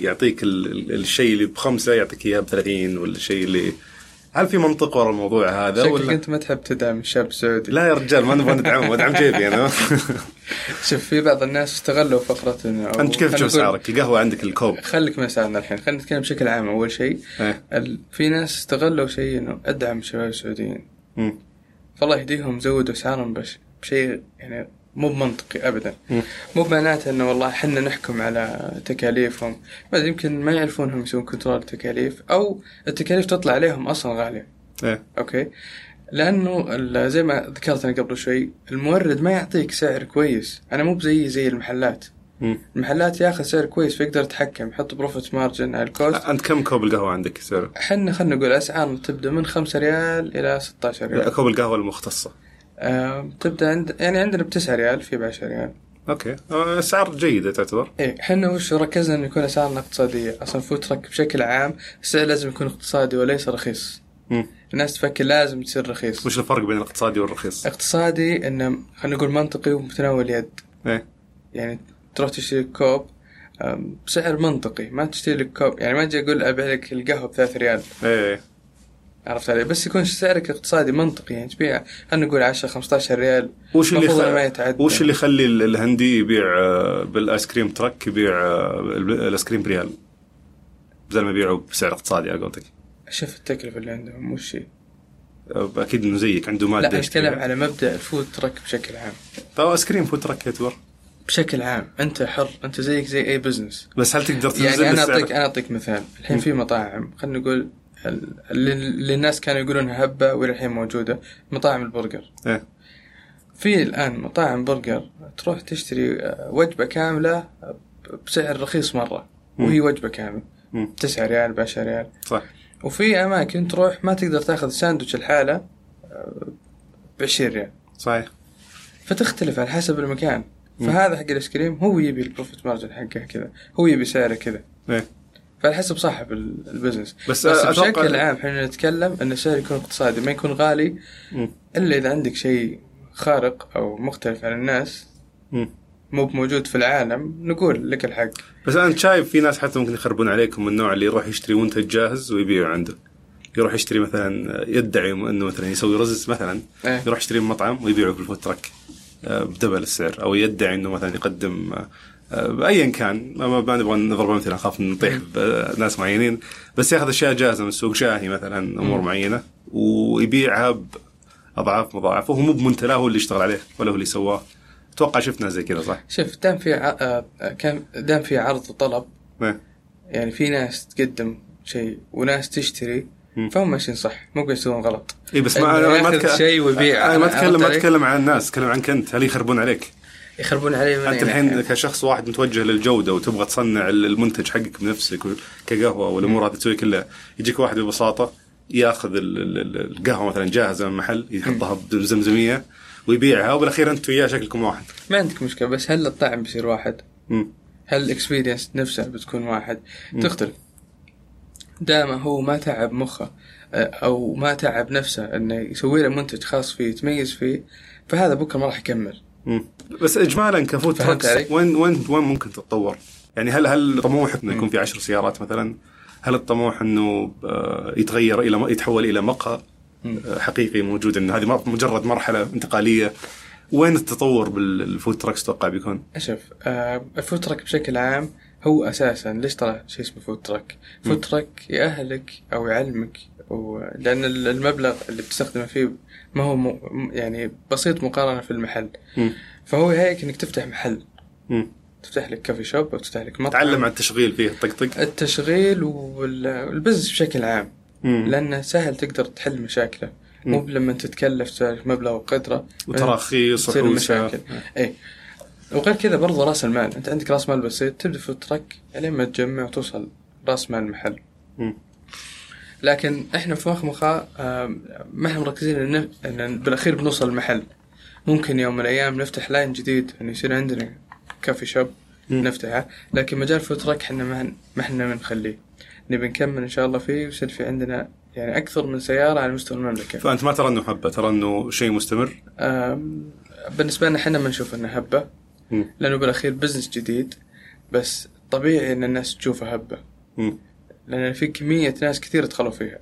[SPEAKER 1] يعطيك ال- ال- الشيء اللي بخمسه يعطيك اياه ب 30 ولا الشيء اللي هل في منطق ورا الموضوع هذا
[SPEAKER 2] شكلك
[SPEAKER 1] ولا
[SPEAKER 2] انت ما تحب تدعم الشاب السعودي
[SPEAKER 1] لا يا رجال ما نبغى ندعمه ادعم جيبي انا
[SPEAKER 2] شوف في بعض الناس استغلوا فقره انه أو
[SPEAKER 1] انت كيف
[SPEAKER 2] خلنا
[SPEAKER 1] تشوف
[SPEAKER 2] نقول-
[SPEAKER 1] اسعارك؟ القهوه عندك الكوب
[SPEAKER 2] خليك من اسعارنا الحين خلينا نتكلم بشكل عام اول شيء
[SPEAKER 1] إيه.
[SPEAKER 2] ال- في ناس استغلوا شيء انه ادعم الشباب السعوديين
[SPEAKER 1] مم.
[SPEAKER 2] فالله يهديهم زودوا اسعارهم بش بشيء يعني مو بمنطقي ابدا
[SPEAKER 1] مم.
[SPEAKER 2] مو بمعناته انه والله حنا نحكم على تكاليفهم بس يمكن ما يعرفون هم يسوون كنترول التكاليف او التكاليف تطلع عليهم اصلا غاليه
[SPEAKER 1] إيه.
[SPEAKER 2] اوكي لانه ال- زي ما ذكرت انا قبل شوي المورد ما يعطيك سعر كويس انا مو بزي زي المحلات
[SPEAKER 1] مم.
[SPEAKER 2] المحلات ياخذ سعر كويس فيقدر يتحكم يحط بروفيت مارجن على الكوست
[SPEAKER 1] انت كم كوب القهوه عندك سعره؟
[SPEAKER 2] احنا خلينا نقول اسعار تبدا من 5 ريال الى 16 ريال
[SPEAKER 1] كوب القهوه المختصه
[SPEAKER 2] آه، تبدا عند يعني عندنا ب 9 ريال في ب 10 ريال
[SPEAKER 1] اوكي آه، اسعار جيده تعتبر
[SPEAKER 2] ايه احنا وش ركزنا انه يكون اسعارنا اقتصاديه اصلا فود ترك بشكل عام السعر لازم يكون اقتصادي وليس رخيص
[SPEAKER 1] مم.
[SPEAKER 2] الناس تفكر لازم تصير رخيص
[SPEAKER 1] وش الفرق بين الاقتصادي والرخيص؟
[SPEAKER 2] اقتصادي انه خلينا نقول منطقي ومتناول اليد
[SPEAKER 1] ايه
[SPEAKER 2] يعني تروح تشتري كوب آم، بسعر منطقي ما تشتري لك كوب يعني ما اجي اقول ابيع لك القهوه ب 3 ريال
[SPEAKER 1] ايه
[SPEAKER 2] عرفت علي بس يكون سعرك اقتصادي منطقي يعني تبيع خلينا نقول 10 15 ريال
[SPEAKER 1] وش اللي
[SPEAKER 2] المفروض إنه ما
[SPEAKER 1] خ...
[SPEAKER 2] يتعدى.
[SPEAKER 1] وش اللي يخلي ال- الهندي يبيع آه، بالايس كريم ترك يبيع آه، الب- الايس كريم بريال بدل ما يبيعه بسعر اقتصادي على قولتك
[SPEAKER 2] شوف التكلفه اللي عندهم مو شيء
[SPEAKER 1] آه، اكيد انه زيك عنده ماده
[SPEAKER 2] لا أنا
[SPEAKER 1] يشتريها.
[SPEAKER 2] اتكلم على مبدا الفود ترك بشكل عام
[SPEAKER 1] طيب ايس كريم فود ترك يعتبر
[SPEAKER 2] بشكل عام انت حر انت زيك زي اي بزنس
[SPEAKER 1] بس هل تقدر تنزل
[SPEAKER 2] يعني انا
[SPEAKER 1] السعر؟
[SPEAKER 2] اعطيك انا اعطيك مثال الحين في مطاعم خلينا نقول ال- اللي اللي الناس كانوا يقولونها هبه والى الحين موجوده مطاعم البرجر
[SPEAKER 1] إيه.
[SPEAKER 2] في الان مطاعم برجر تروح تشتري آه، وجبه كامله بسعر رخيص مره وهي وجبه كامله
[SPEAKER 1] مم.
[SPEAKER 2] 9 ريال ب 10 ريال
[SPEAKER 1] صح
[SPEAKER 2] وفي اماكن تروح ما تقدر تاخذ ساندوتش الحاله ب 20 ريال
[SPEAKER 1] صحيح
[SPEAKER 2] فتختلف على حسب المكان فهذا حق الايس كريم هو يبي البروفيت مارجن حقه كذا هو يبي سعره كذا
[SPEAKER 1] إيه.
[SPEAKER 2] فعلى حسب صاحب ال- البزنس
[SPEAKER 1] بس
[SPEAKER 2] بس, بس
[SPEAKER 1] أتوقع-
[SPEAKER 2] بشكل عام احنا نتكلم ان السعر يكون اقتصادي ما يكون غالي
[SPEAKER 1] مم.
[SPEAKER 2] الا اذا عندك شيء خارق او مختلف عن الناس
[SPEAKER 1] مم.
[SPEAKER 2] مو موجود في العالم نقول لك الحق
[SPEAKER 1] بس انا شايف في ناس حتى ممكن يخربون عليكم من النوع اللي يروح يشتري منتج جاهز ويبيعه عنده يروح يشتري مثلا يدعي انه مثلا يسوي رز مثلا
[SPEAKER 2] إيه.
[SPEAKER 1] يروح يشتري من مطعم ويبيعه بالفوت ترك آه، بدبل السعر او يدعي انه مثلا يقدم آه، آه، ايا كان ما, ما- ما نبغى نضرب امثله نخاف نطيح بناس معينين بس ياخذ اشياء جاهزه من السوق شاهي مثلا امور معينه ويبيعها باضعاف مضاعفه وهو مو بمنتلاه هو اللي اشتغل عليه ولا هو اللي سواه اتوقع شفنا زي كذا صح؟
[SPEAKER 2] شوف دام في ع... آه، كان دام في عرض وطلب
[SPEAKER 1] إيه.
[SPEAKER 2] يعني في ناس تقدم شيء وناس تشتري
[SPEAKER 1] مم.
[SPEAKER 2] فهم ماشيين صح مو قاعد يسوون غلط
[SPEAKER 1] اي إيه، بس ما
[SPEAKER 2] إنه
[SPEAKER 1] انا ما
[SPEAKER 2] ياخذ
[SPEAKER 1] أتك-
[SPEAKER 2] شيء ويبيع
[SPEAKER 1] انا ما
[SPEAKER 2] عرفت
[SPEAKER 1] اتكلم ما
[SPEAKER 2] علي؟
[SPEAKER 1] اتكلم عن الناس اتكلم عنك انت هل يخربون عليك؟
[SPEAKER 2] يخربون عليه من
[SPEAKER 1] انت
[SPEAKER 2] أي
[SPEAKER 1] الحين
[SPEAKER 2] ناحية.
[SPEAKER 1] كشخص واحد متوجه للجوده وتبغى تصنع ال- المنتج حقك بنفسك و- كقهوه والامور هذه تسوي كلها يجيك واحد ببساطه ياخذ ال- ال- ال- القهوه مثلا جاهزه من محل يحطها بزمزميه ويبيعها وبالاخير انت وياه شكلكم واحد
[SPEAKER 2] ما عندك مشكله بس هل الطعم بيصير واحد؟
[SPEAKER 1] مم.
[SPEAKER 2] هل الاكسبيرينس نفسها بتكون واحد؟ تختلف دام هو ما تعب مخه آه، او ما تعب نفسه انه يسوي له منتج خاص فيه يتميز فيه فهذا بكره ما راح يكمل
[SPEAKER 1] مم. بس اجمالا كفوت
[SPEAKER 2] فهمت
[SPEAKER 1] تراكس
[SPEAKER 2] علي؟
[SPEAKER 1] وين وين وين ممكن تتطور؟ يعني هل هل طموحك انه يكون في عشر سيارات مثلا؟ هل الطموح انه آه، يتغير الى م- يتحول الى مقهى آه، حقيقي موجود ان هذه مر- مجرد مرحله انتقاليه وين التطور بالفود تراكس تتوقع بيكون؟
[SPEAKER 2] شوف آه الفود تراك بشكل عام هو اساسا ليش طلع شيء اسمه فود تراك؟ فود تراك ياهلك او يعلمك و... لان ال- المبلغ اللي بتستخدمه فيه ما هو م... يعني بسيط مقارنه في المحل
[SPEAKER 1] مم.
[SPEAKER 2] فهو يهيئك انك تفتح محل
[SPEAKER 1] مم.
[SPEAKER 2] تفتح لك كافي شوب او تفتح لك مطعم
[SPEAKER 1] تعلم عن التشغيل فيه الطقطق
[SPEAKER 2] التشغيل والبزنس بشكل عام
[SPEAKER 1] مم.
[SPEAKER 2] لانه سهل تقدر تحل مشاكله مو لما تتكلف سالك مبلغ وقدره
[SPEAKER 1] وتراخيص
[SPEAKER 2] تصير
[SPEAKER 1] وحوسه
[SPEAKER 2] مشاكل اي وغير كذا برضه راس المال انت عندك راس مال بسيط تبدا في الترك لين ما تجمع وتوصل راس مال المحل
[SPEAKER 1] مم.
[SPEAKER 2] لكن احنا في مخمخة آم، ما احنا مركزين ان إن بالاخير بنوصل المحل ممكن يوم من الايام نفتح لاين جديد انه يصير عندنا كافي شوب نفتحه لكن مجال فترك احنا ما ما احنا بنخليه نبي نكمل ان شاء الله فيه ويصير في عندنا يعني اكثر من سياره على مستوى المملكه
[SPEAKER 1] فانت ما ترى انه حبه ترى انه شيء مستمر
[SPEAKER 2] آم، بالنسبة لنا احنا ما نشوف انها هبة
[SPEAKER 1] مم.
[SPEAKER 2] لأنه بالأخير بزنس جديد بس طبيعي أن الناس تشوفها هبة
[SPEAKER 1] مم.
[SPEAKER 2] لأن في كمية ناس كثير دخلوا فيها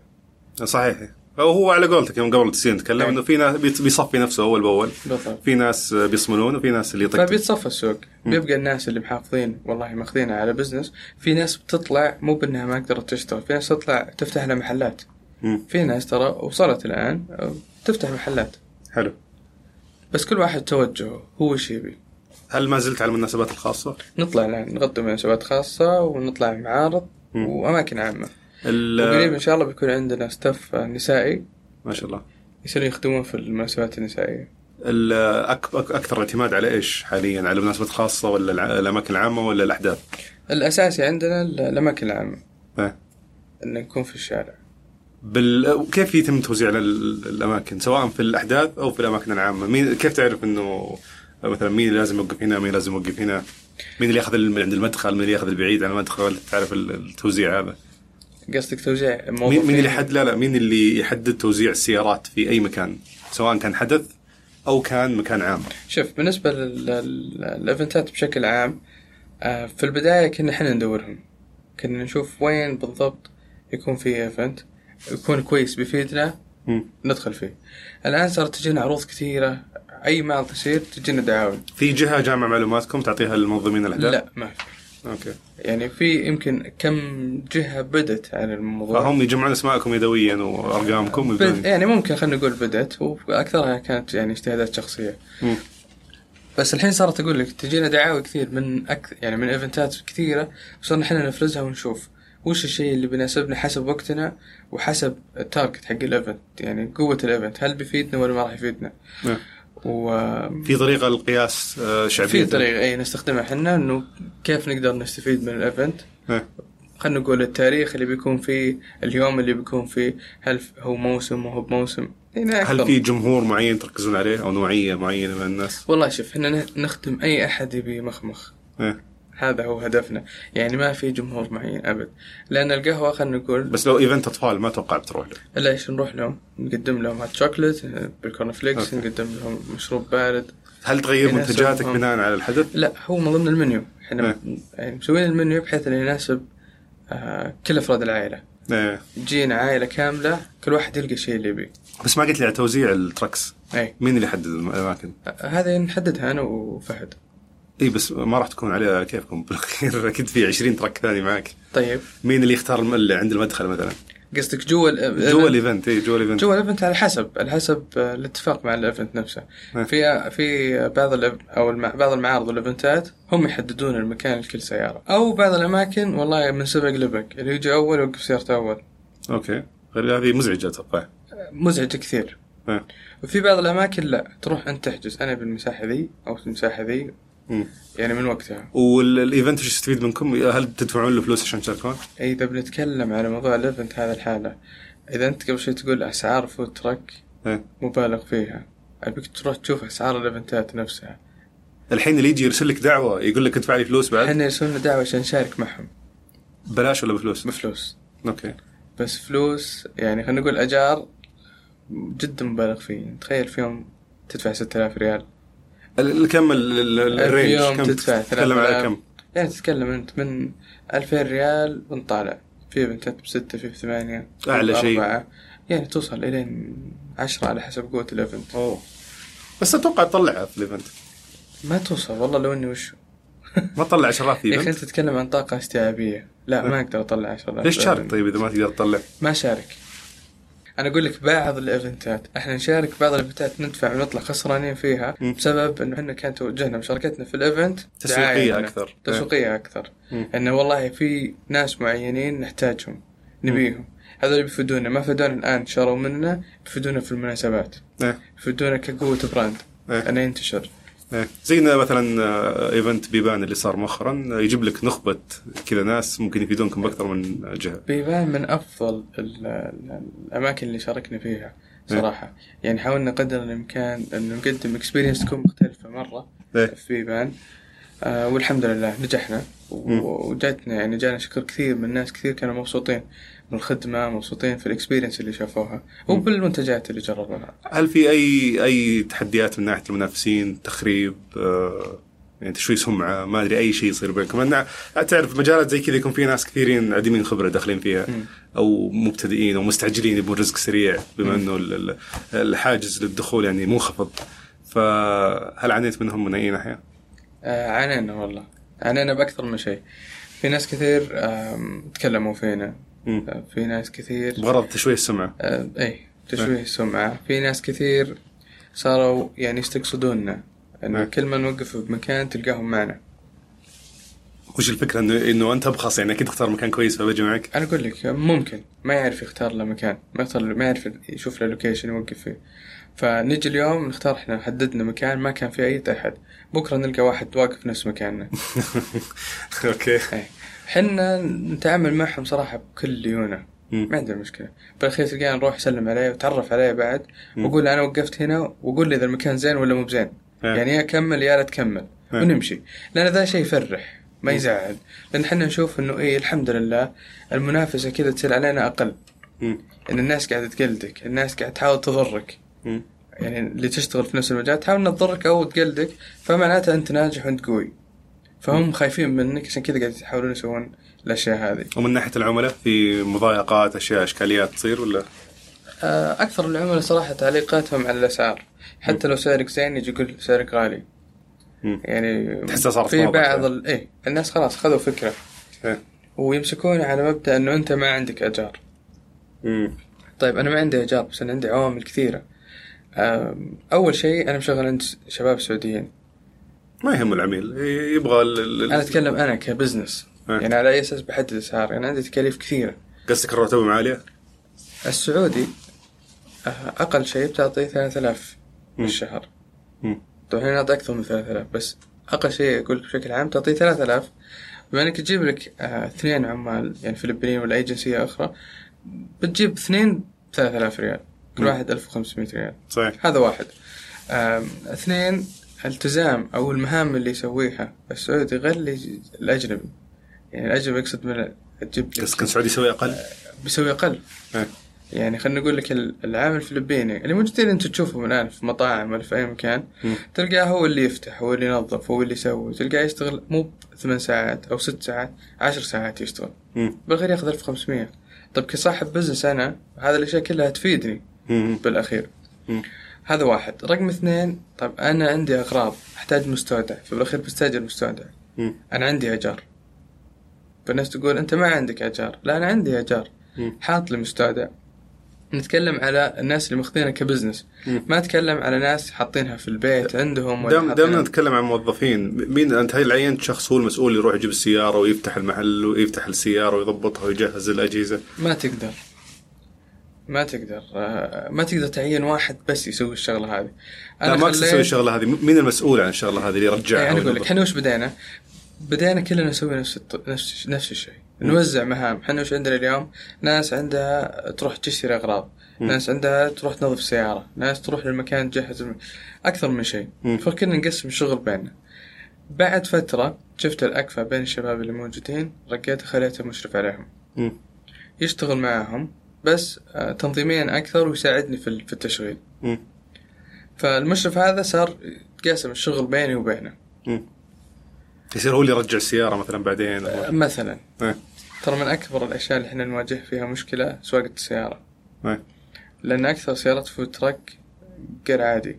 [SPEAKER 1] صحيح أو هو على قولتك يوم قبل تصير نتكلم
[SPEAKER 2] إيه.
[SPEAKER 1] انه في ناس بيت- بيصفي نفسه اول باول
[SPEAKER 2] بالضبط
[SPEAKER 1] في ناس بيصملون وفي ناس اللي يطقطق
[SPEAKER 2] فبيتصفى السوق بيبقى الناس اللي محافظين والله ماخذينها على بزنس في ناس بتطلع مو بأنها ما قدرت تشتغل في ناس تطلع تفتح لها محلات
[SPEAKER 1] مم.
[SPEAKER 2] في ناس ترى وصلت الآن أو تفتح محلات
[SPEAKER 1] حلو
[SPEAKER 2] بس كل واحد توجهه هو ايش يبي
[SPEAKER 1] هل ما زلت على المناسبات الخاصه؟
[SPEAKER 2] نطلع الآن نغطي مناسبات خاصة ونطلع معارض
[SPEAKER 1] مم.
[SPEAKER 2] وأماكن عامة وقريب
[SPEAKER 1] ال-
[SPEAKER 2] ان شاء الله بيكون عندنا ستاف نسائي
[SPEAKER 1] ما شاء الله
[SPEAKER 2] يصيرون يخدمون في المناسبات النسائيه
[SPEAKER 1] ال- أك- أك- اكثر اعتماد على ايش حاليا على المناسبات الخاصه ولا الع- الاماكن العامه ولا الاحداث؟
[SPEAKER 2] الاساسي عندنا ال- الاماكن العامه
[SPEAKER 1] إيه.
[SPEAKER 2] ان نكون في الشارع
[SPEAKER 1] بال... كيف يتم توزيع ال- ال- الاماكن سواء في الاحداث او في الاماكن العامه؟ مين كيف تعرف انه مثلا مين اللي لازم يوقف هنا مين لازم يوقف هنا؟ مين اللي ياخذ ال- من عند المدخل مين اللي ياخذ البعيد عن المدخل تعرف ال- التوزيع هذا؟
[SPEAKER 2] قصدك توزيع
[SPEAKER 1] مين,
[SPEAKER 2] موظفين
[SPEAKER 1] مين اللي حد لا لا مين اللي يحدد توزيع السيارات في اي مكان سواء كان حدث او كان مكان عام
[SPEAKER 2] شوف بالنسبه لل- لل- للايفنتات بشكل عام آه، في البدايه كنا احنا ندورهم كنا نشوف وين بالضبط يكون في ايفنت يكون كويس بيفيدنا
[SPEAKER 1] مم.
[SPEAKER 2] ندخل فيه الان صارت تجينا عروض كثيره اي معرض تصير تجينا دعاوي
[SPEAKER 1] في جهه جامعه معلوماتكم تعطيها للمنظمين الاحداث
[SPEAKER 2] لا ما في
[SPEAKER 1] اوكي
[SPEAKER 2] يعني في يمكن كم جهة بدت على الموضوع
[SPEAKER 1] فهم يجمعون اسماءكم يدويا وارقامكم
[SPEAKER 2] بد...
[SPEAKER 1] ويبدون-
[SPEAKER 2] يعني ممكن خلينا نقول بدت واكثرها كانت يعني اجتهادات شخصية
[SPEAKER 1] مم.
[SPEAKER 2] بس الحين صارت اقول لك تجينا دعاوي كثير من أكثر يعني من ايفنتات كثيرة صرنا احنا نفرزها ونشوف وش الشيء اللي بيناسبنا حسب وقتنا وحسب التارجت حق الايفنت يعني قوة الايفنت هل بيفيدنا ولا ما راح يفيدنا
[SPEAKER 1] نعم.
[SPEAKER 2] و
[SPEAKER 1] في طريقه للقياس آه، شعبيه
[SPEAKER 2] في إيه، طريقة اي نستخدمها احنا انه كيف نقدر نستفيد من الايفنت
[SPEAKER 1] إيه.
[SPEAKER 2] خلينا نقول التاريخ اللي بيكون فيه اليوم اللي بيكون فيه هل ف- هو موسم وهو بموسم هنا
[SPEAKER 1] هل
[SPEAKER 2] أكثر.
[SPEAKER 1] في جمهور معين تركزون عليه او نوعيه معينه من الناس؟
[SPEAKER 2] والله شوف احنا نه- نخدم اي احد يبي مخمخ
[SPEAKER 1] إيه.
[SPEAKER 2] هذا هو هدفنا يعني ما في جمهور معين ابد لان القهوه خلينا نقول
[SPEAKER 1] بس لو ايفنت اطفال ما اتوقع بتروح له
[SPEAKER 2] الا ايش نروح لهم نقدم لهم هات شوكليت بالكورن فليكس
[SPEAKER 1] أوكي.
[SPEAKER 2] نقدم لهم مشروب بارد
[SPEAKER 1] هل تغير
[SPEAKER 2] في ناس
[SPEAKER 1] منتجاتك
[SPEAKER 2] هم-
[SPEAKER 1] بناء على الحدث؟
[SPEAKER 2] لا هو من ضمن المنيو احنا
[SPEAKER 1] إيه.
[SPEAKER 2] يعني مسوين المنيو بحيث انه يناسب آه، كل افراد العائله
[SPEAKER 1] إيه.
[SPEAKER 2] جينا عائله كامله كل واحد يلقى الشيء اللي يبيه
[SPEAKER 1] بس ما قلت لي على توزيع التركس
[SPEAKER 2] اي
[SPEAKER 1] مين اللي يحدد الاماكن؟
[SPEAKER 2] هذا نحددها انا وفهد
[SPEAKER 1] اي إيه، بس ما راح تكون عليها كيفكم بالاخير اكيد في 20 ترك ثاني معك
[SPEAKER 2] طيب
[SPEAKER 1] مين اللي يختار الم- اللي عند المدخل مثلا
[SPEAKER 2] قصدك جوا ال-
[SPEAKER 1] جوا الايفنت اي جوا الايفنت
[SPEAKER 2] جوا الايفنت على حسب على حسب آه، الاتفاق مع الايفنت نفسه
[SPEAKER 1] إيه.
[SPEAKER 2] في آه، في بعض الإف- او الم- بعض المعارض والايفنتات هم يحددون المكان لكل سياره او بعض الاماكن والله من سبق لبق اللي يجي اول يوقف سيارته اول
[SPEAKER 1] اوكي غير هذه مزعجه اتوقع
[SPEAKER 2] آه، مزعج كثير
[SPEAKER 1] إيه.
[SPEAKER 2] وفي بعض الاماكن لا تروح انت تحجز انا بالمساحه ذي او المساحه ذي
[SPEAKER 1] مم.
[SPEAKER 2] يعني من وقتها
[SPEAKER 1] والايفنت وش يستفيد منكم؟ هل تدفعون له فلوس عشان تشاركون؟
[SPEAKER 2] اذا إيه، بنتكلم على موضوع الايفنت هذا الحاله اذا انت قبل شوي تقول اسعار فود تراك
[SPEAKER 1] إيه.
[SPEAKER 2] مبالغ فيها ابيك تروح تشوف اسعار الايفنتات نفسها
[SPEAKER 1] الحين اللي يجي يرسل لك دعوه يقول لك ادفع لي فلوس بعد
[SPEAKER 2] احنا يرسلون لنا دعوه عشان نشارك معهم
[SPEAKER 1] بلاش ولا بفلوس؟
[SPEAKER 2] بفلوس
[SPEAKER 1] اوكي
[SPEAKER 2] بس فلوس يعني خلينا نقول اجار جدا مبالغ فيه تخيل في يوم تدفع 6000 ريال
[SPEAKER 1] ال- كم ال- ال- ال-
[SPEAKER 2] اليوم
[SPEAKER 1] الرينج؟ كم
[SPEAKER 2] تدفع
[SPEAKER 1] تتكلم على
[SPEAKER 2] 3000.
[SPEAKER 1] كم؟
[SPEAKER 2] يعني تتكلم انت من 2000 ريال ونطالع في بنتات بستة في بثمانية
[SPEAKER 1] أعلى شيء.
[SPEAKER 2] بأربعة. يعني توصل الين عشرة على حسب قوة الايفنت
[SPEAKER 1] اوه بس اتوقع تطلعها في الايفنت
[SPEAKER 2] ما توصل والله لو اني وش
[SPEAKER 1] ما تطلع 10000 في
[SPEAKER 2] يا اخي
[SPEAKER 1] ايفنت
[SPEAKER 2] انت تتكلم عن طاقة استيعابية لا ما اقدر اطلع 10000
[SPEAKER 1] ليش تشارك طيب اذا ما تقدر تطلع؟
[SPEAKER 2] ما شارك انا اقول لك بعض الايفنتات احنا نشارك بعض الايفنتات ندفع ونطلع خسرانين فيها
[SPEAKER 1] مم.
[SPEAKER 2] بسبب انه احنا كان توجهنا مشاركتنا في الايفنت
[SPEAKER 1] تسويقية
[SPEAKER 2] دعاية لنا.
[SPEAKER 1] أكثر.
[SPEAKER 2] تسويقيه اكثر
[SPEAKER 1] مم.
[SPEAKER 2] انه والله في ناس معينين نحتاجهم نبيهم هذول بيفيدونا ما فادونا الان شروا منا بيفيدونا في المناسبات
[SPEAKER 1] إيه.
[SPEAKER 2] بيفيدونا كقوه براند
[SPEAKER 1] إيه.
[SPEAKER 2] انه ينتشر
[SPEAKER 1] إيه. زي إنه مثلا آه، ايفنت بيبان اللي صار مؤخرا آه، يجيب لك نخبه كذا ناس ممكن يفيدونكم باكثر من جهه
[SPEAKER 2] بيبان من افضل ال- ال- الاماكن اللي شاركنا فيها
[SPEAKER 1] إيه.
[SPEAKER 2] صراحه يعني حاولنا قدر الامكان ان نقدم اكسبيرينس تكون مختلفه مره
[SPEAKER 1] إيه.
[SPEAKER 2] في بيبان آه والحمد لله نجحنا
[SPEAKER 1] مم.
[SPEAKER 2] و- وجاتنا يعني جانا شكر كثير من ناس كثير كانوا مبسوطين من الخدمه مبسوطين في الاكسبيرينس اللي شافوها وبالمنتجات اللي جربوها
[SPEAKER 1] هل في اي اي تحديات من ناحيه المنافسين تخريب آه، يعني تشويه سمعه ما ادري اي شيء يصير بينكم لان تعرف مجالات زي كذا يكون في ناس كثيرين عديمين خبره داخلين فيها
[SPEAKER 2] مم.
[SPEAKER 1] او مبتدئين او مستعجلين يبون رزق سريع بما انه ال- ال- الحاجز للدخول يعني منخفض فهل عانيت منهم من اي ناحيه؟
[SPEAKER 2] آه عانينا والله عانينا باكثر من شيء في ناس كثير آم، تكلموا فينا
[SPEAKER 1] مم.
[SPEAKER 2] آه، في ناس كثير
[SPEAKER 1] بغرض تشويه السمعه
[SPEAKER 2] آه، اي تشويه السمعة في ناس كثير صاروا يعني يستقصدوننا انه
[SPEAKER 1] نعم.
[SPEAKER 2] كل ما نوقف بمكان تلقاهم معنا
[SPEAKER 1] وش الفكره انه انه انت ابخص يعني اكيد اختار مكان كويس فبجي معك
[SPEAKER 2] انا اقول لك ممكن ما يعرف يختار له مكان ما يختار ما يعرف يشوف له لوكيشن يوقف فيه فنجي اليوم نختار احنا حددنا مكان ما كان في اي احد بكره نلقى واحد واقف نفس مكاننا
[SPEAKER 1] اوكي
[SPEAKER 2] حنا نتعامل معهم صراحه بكل ليونه
[SPEAKER 1] مم.
[SPEAKER 2] ما عندنا مشكله بالاخير تلقاني نروح اسلم عليه وتعرف عليه بعد واقول له انا وقفت هنا واقول لي اذا المكان زين ولا مو بزين
[SPEAKER 1] إيه.
[SPEAKER 2] يعني يا كمل يا لا تكمل
[SPEAKER 1] إيه.
[SPEAKER 2] ونمشي لان ذا شيء يفرح ما يزعل لان احنا نشوف انه ايه الحمد لله المنافسه كذا تصير علينا اقل
[SPEAKER 1] مم.
[SPEAKER 2] ان الناس قاعده تقلدك الناس قاعده تحاول تضرك
[SPEAKER 1] مم.
[SPEAKER 2] يعني اللي تشتغل في نفس المجال تحاول انها تضرك او تقلدك فمعناته انت ناجح وانت قوي
[SPEAKER 1] إيه.
[SPEAKER 2] فهم خايفين منك عشان كذا قاعد يحاولون يسوون الاشياء هذه
[SPEAKER 1] ومن ناحيه العملاء في مضايقات اشياء اشكاليات تصير ولا؟
[SPEAKER 2] آه، اكثر العملاء صراحه تعليقاتهم على الاسعار حتى لو سعرك زين يجي يقول سعرك غالي
[SPEAKER 1] مم.
[SPEAKER 2] يعني
[SPEAKER 1] تحسها صارت
[SPEAKER 2] في
[SPEAKER 1] موضة
[SPEAKER 2] بعض
[SPEAKER 1] شوي.
[SPEAKER 2] ال... إيه الناس خلاص خذوا فكره
[SPEAKER 1] إيه.
[SPEAKER 2] ويمسكون على مبدا انه انت ما عندك اجار
[SPEAKER 1] مم.
[SPEAKER 2] طيب انا ما عندي ايجار بس انا عندي عوامل كثيره أم، اول شيء انا مشغل عند شباب سعوديين
[SPEAKER 1] ما يهم العميل يبغى ال- ال-
[SPEAKER 2] انا اتكلم انا كبزنس
[SPEAKER 1] إيه.
[SPEAKER 2] يعني على اي اساس بحدد اسعار يعني عندي تكاليف كثيره
[SPEAKER 1] قصدك الرواتب عاليه؟
[SPEAKER 2] السعودي أه، اقل شيء بتعطيه 3000 بالشهر
[SPEAKER 1] مم.
[SPEAKER 2] طبعا هنا نعطي اكثر من 3000 بس اقل شيء اقول لك بشكل عام تعطيه 3000 بما انك تجيب لك آه، اثنين عمال يعني فلبينيين ولا اي جنسيه اخرى بتجيب اثنين ب 3000 ريال كل
[SPEAKER 1] مم.
[SPEAKER 2] واحد 1500 ريال
[SPEAKER 1] صحيح
[SPEAKER 2] هذا واحد آم، اثنين التزام او المهام اللي يسويها السعودي غير اللي الاجنبي يعني الاجنبي يقصد من تجيب لك-
[SPEAKER 1] قصدك السعودي يسوي اقل؟
[SPEAKER 2] آه. بيسوي اقل
[SPEAKER 1] إيه.
[SPEAKER 2] يعني خلينا نقول لك ال- العامل الفلبيني اللي موجودين انت تشوفهم الان في مطاعم ولا في اي مكان
[SPEAKER 1] مم.
[SPEAKER 2] تلقاه هو اللي يفتح هو اللي ينظف هو اللي يسوي تلقاه يشتغل مو ثمان ساعات او ست ساعات عشر ساعات يشتغل
[SPEAKER 1] مم.
[SPEAKER 2] بالاخير ياخذ 1500 طب كصاحب بزنس انا هذه الاشياء كلها تفيدني
[SPEAKER 1] مم.
[SPEAKER 2] بالاخير
[SPEAKER 1] مم.
[SPEAKER 2] هذا واحد رقم اثنين طيب انا عندي اغراض احتاج مستودع فبالاخير بستاجر مستودع
[SPEAKER 1] مم.
[SPEAKER 2] انا عندي اجار فالناس تقول انت ما عندك اجار لا انا عندي اجار
[SPEAKER 1] مم.
[SPEAKER 2] حاط لي مستودع نتكلم على الناس اللي ماخذينها كبزنس
[SPEAKER 1] مم.
[SPEAKER 2] ما نتكلم على ناس حاطينها في البيت عندهم ولا
[SPEAKER 1] دام دامنا
[SPEAKER 2] حاطينها-
[SPEAKER 1] نتكلم عن موظفين مين انت هل عينت شخص هو المسؤول يروح يجيب السياره ويفتح المحل ويفتح السياره ويضبطها ويجهز الاجهزه
[SPEAKER 2] ما تقدر ما تقدر آه، ما تقدر تعين واحد بس يسوي الشغله هذه
[SPEAKER 1] لا ما أقصد
[SPEAKER 2] خليت-
[SPEAKER 1] اسوي الشغله هذه مين المسؤول عن الشغله هذه اللي يرجعها
[SPEAKER 2] يعني اقول لك
[SPEAKER 1] ويضبطها؟
[SPEAKER 2] احنا وش بدينا؟ بدينا كلنا نسوي نفس الط- نفس نفس الشيء، نوزع مهام، احنا وش عندنا اليوم؟ ناس عندها تروح تشتري اغراض، ناس عندها تروح تنظف سياره، ناس تروح للمكان تجهز الم... اكثر من شيء،
[SPEAKER 1] مم.
[SPEAKER 2] فكنا نقسم الشغل بيننا. بعد فتره شفت الاكفه بين الشباب اللي موجودين، رقيته خليته مشرف عليهم.
[SPEAKER 1] مم.
[SPEAKER 2] يشتغل معاهم بس آه، تنظيميا اكثر ويساعدني في ال- في التشغيل.
[SPEAKER 1] مم.
[SPEAKER 2] فالمشرف هذا صار يتقاسم الشغل بيني وبينه.
[SPEAKER 1] مم. يصير هو اللي يرجع السياره مثلا بعدين
[SPEAKER 2] آه. مثلا
[SPEAKER 1] إيه.
[SPEAKER 2] ترى من اكبر الاشياء اللي احنا نواجه فيها مشكله سواقه السياره
[SPEAKER 1] إيه.
[SPEAKER 2] لان اكثر سيارات فود تراك غير عادي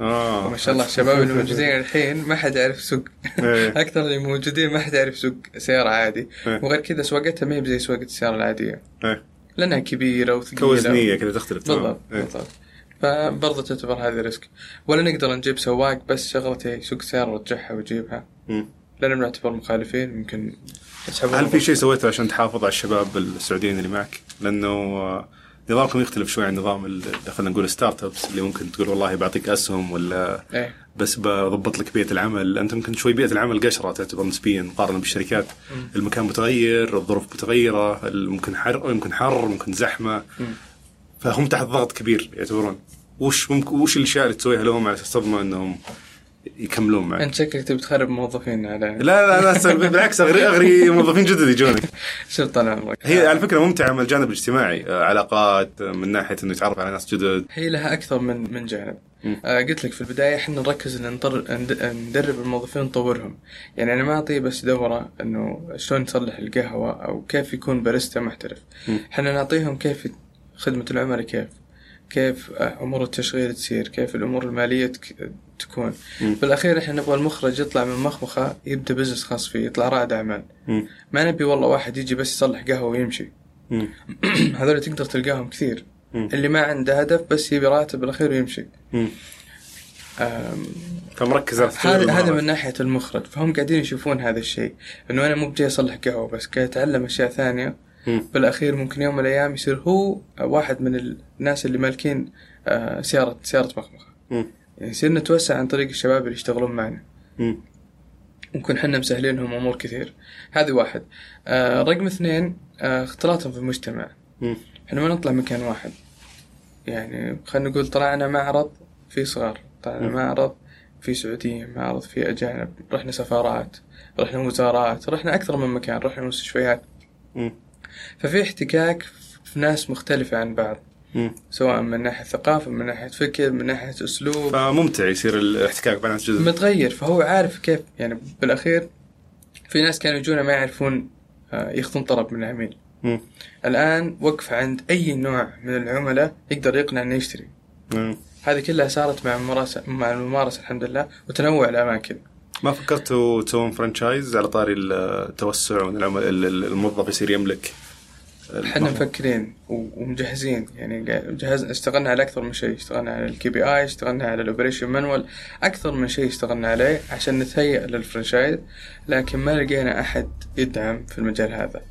[SPEAKER 1] اه
[SPEAKER 2] ما شاء الله الشباب اللي موجودين الحين ما حد يعرف سوق
[SPEAKER 1] إيه.
[SPEAKER 2] اكثر اللي موجودين ما حد يعرف سوق سياره عادي
[SPEAKER 1] إيه.
[SPEAKER 2] وغير كذا سواقتها ما هي زي سواقه السياره العاديه
[SPEAKER 1] إيه.
[SPEAKER 2] لانها كبيره وثقيله
[SPEAKER 1] كوزنيه كذا تختلف تمام.
[SPEAKER 2] بالضبط
[SPEAKER 1] إيه.
[SPEAKER 2] بالضبط فبرضه تعتبر هذه ريسك ولا نقدر نجيب سواق بس شغلته يسوق سياره ورجعها ويجيبها
[SPEAKER 1] مم.
[SPEAKER 2] لان بنعتبر مخالفين ممكن يسحبون
[SPEAKER 1] هل في شيء سويته عشان تحافظ على الشباب السعوديين اللي معك؟ لانه آه، نظامكم يختلف شوي عن نظام ال- خلينا نقول ستارت ابس اللي ممكن تقول والله بعطيك اسهم ولا
[SPEAKER 2] ايه
[SPEAKER 1] بس بضبط لك بيئه العمل، انت ممكن شوي بيئه العمل قشره تعتبر نسبيا مقارنه بالشركات، المكان متغير، الظروف متغيره، ال- ممكن حر ممكن حر، ممكن زحمه فهم تحت ضغط كبير يعتبرون. وش ممكن وش الاشياء اللي تسويها لهم على اساس تضمن انهم يكملون معك؟
[SPEAKER 2] انت شكلك تبي تخرب موظفين على
[SPEAKER 1] لا لا انا أسأل بالعكس اغري اغري موظفين جدد يجونك.
[SPEAKER 2] شوف طال عمرك آه،
[SPEAKER 1] هي يعني- على فكره ممتعه من الجانب الاجتماعي آه، علاقات آه، من ناحيه انه يتعرف على ناس جدد
[SPEAKER 2] هي لها اكثر من من جانب
[SPEAKER 1] مم.
[SPEAKER 2] آه قلت لك في البدايه احنا نركز ان نطر... ند- ندرب الموظفين نطورهم يعني انا ما اعطيه بس دوره انه شلون يصلح القهوه او كيف يكون باريستا محترف
[SPEAKER 1] مم.
[SPEAKER 2] احنا نعطيهم كيف خدمه العملاء كيف كيف آه، امور التشغيل تصير كيف الامور الماليه تك... تكون
[SPEAKER 1] مم.
[SPEAKER 2] بالاخير احنا نبغى المخرج يطلع من مخمخه يبدا بزنس خاص فيه يطلع رائد اعمال
[SPEAKER 1] مم.
[SPEAKER 2] ما نبي والله واحد يجي بس يصلح قهوه ويمشي
[SPEAKER 1] مم.
[SPEAKER 2] هذول تقدر تلقاهم كثير
[SPEAKER 1] مم.
[SPEAKER 2] اللي ما عنده هدف بس يبي راتب بالاخير ويمشي
[SPEAKER 1] مم.
[SPEAKER 2] آم،
[SPEAKER 1] فمركز على تطوير
[SPEAKER 2] هذا هذا
[SPEAKER 1] المهارات.
[SPEAKER 2] من ناحيه المخرج فهم قاعدين يشوفون هذا الشيء انه انا مو بجاي اصلح قهوه بس قاعد اتعلم اشياء ثانيه
[SPEAKER 1] مم.
[SPEAKER 2] بالاخير ممكن يوم من الايام يصير هو واحد من الناس اللي مالكين آه، سياره سياره مخمخه
[SPEAKER 1] مم.
[SPEAKER 2] يعني يصير نتوسع عن طريق الشباب اللي يشتغلون معنا
[SPEAKER 1] مم.
[SPEAKER 2] نكون حنا مسهلينهم امور كثير هذه واحد آه، رقم اثنين آه، اختلاطهم في المجتمع
[SPEAKER 1] مم.
[SPEAKER 2] احنا ما نطلع مكان واحد يعني خلينا نقول طلعنا معرض في صغار طلعنا
[SPEAKER 1] مم.
[SPEAKER 2] معرض في سعوديين معرض في أجانب رحنا سفارات رحنا وزارات رحنا أكثر من مكان رحنا مستشفيات
[SPEAKER 1] مم.
[SPEAKER 2] ففي احتكاك في ناس مختلفة عن بعض
[SPEAKER 1] مم.
[SPEAKER 2] سواء من ناحية ثقافة من ناحية فكر من ناحية أسلوب
[SPEAKER 1] فممتع يصير الاحتكاك بين ناس جدد
[SPEAKER 2] متغير فهو عارف كيف يعني بالأخير في ناس كانوا يجونا ما يعرفون آه، يخطون طلب من العميل
[SPEAKER 1] مم.
[SPEAKER 2] الآن وقف عند أي نوع من العملاء يقدر يقنع إنه يشتري
[SPEAKER 1] مم.
[SPEAKER 2] هذه كلها صارت مع الممارسة مع الممارسة الحمد لله وتنوع الأماكن
[SPEAKER 1] ما فكرتوا تسوون فرانشايز على طاري التوسع وان العمل- ال- ال- الموظف يصير يملك نعم.
[SPEAKER 2] احنا مفكرين و- ومجهزين يعني قا- جهز اشتغلنا على أكثر من شيء اشتغلنا على الكي بي آي اشتغلنا على الأوبريشن مانوال أكثر من شيء اشتغلنا عليه عشان نتهيأ للفرنشايز لكن ما لقينا أحد يدعم في المجال هذا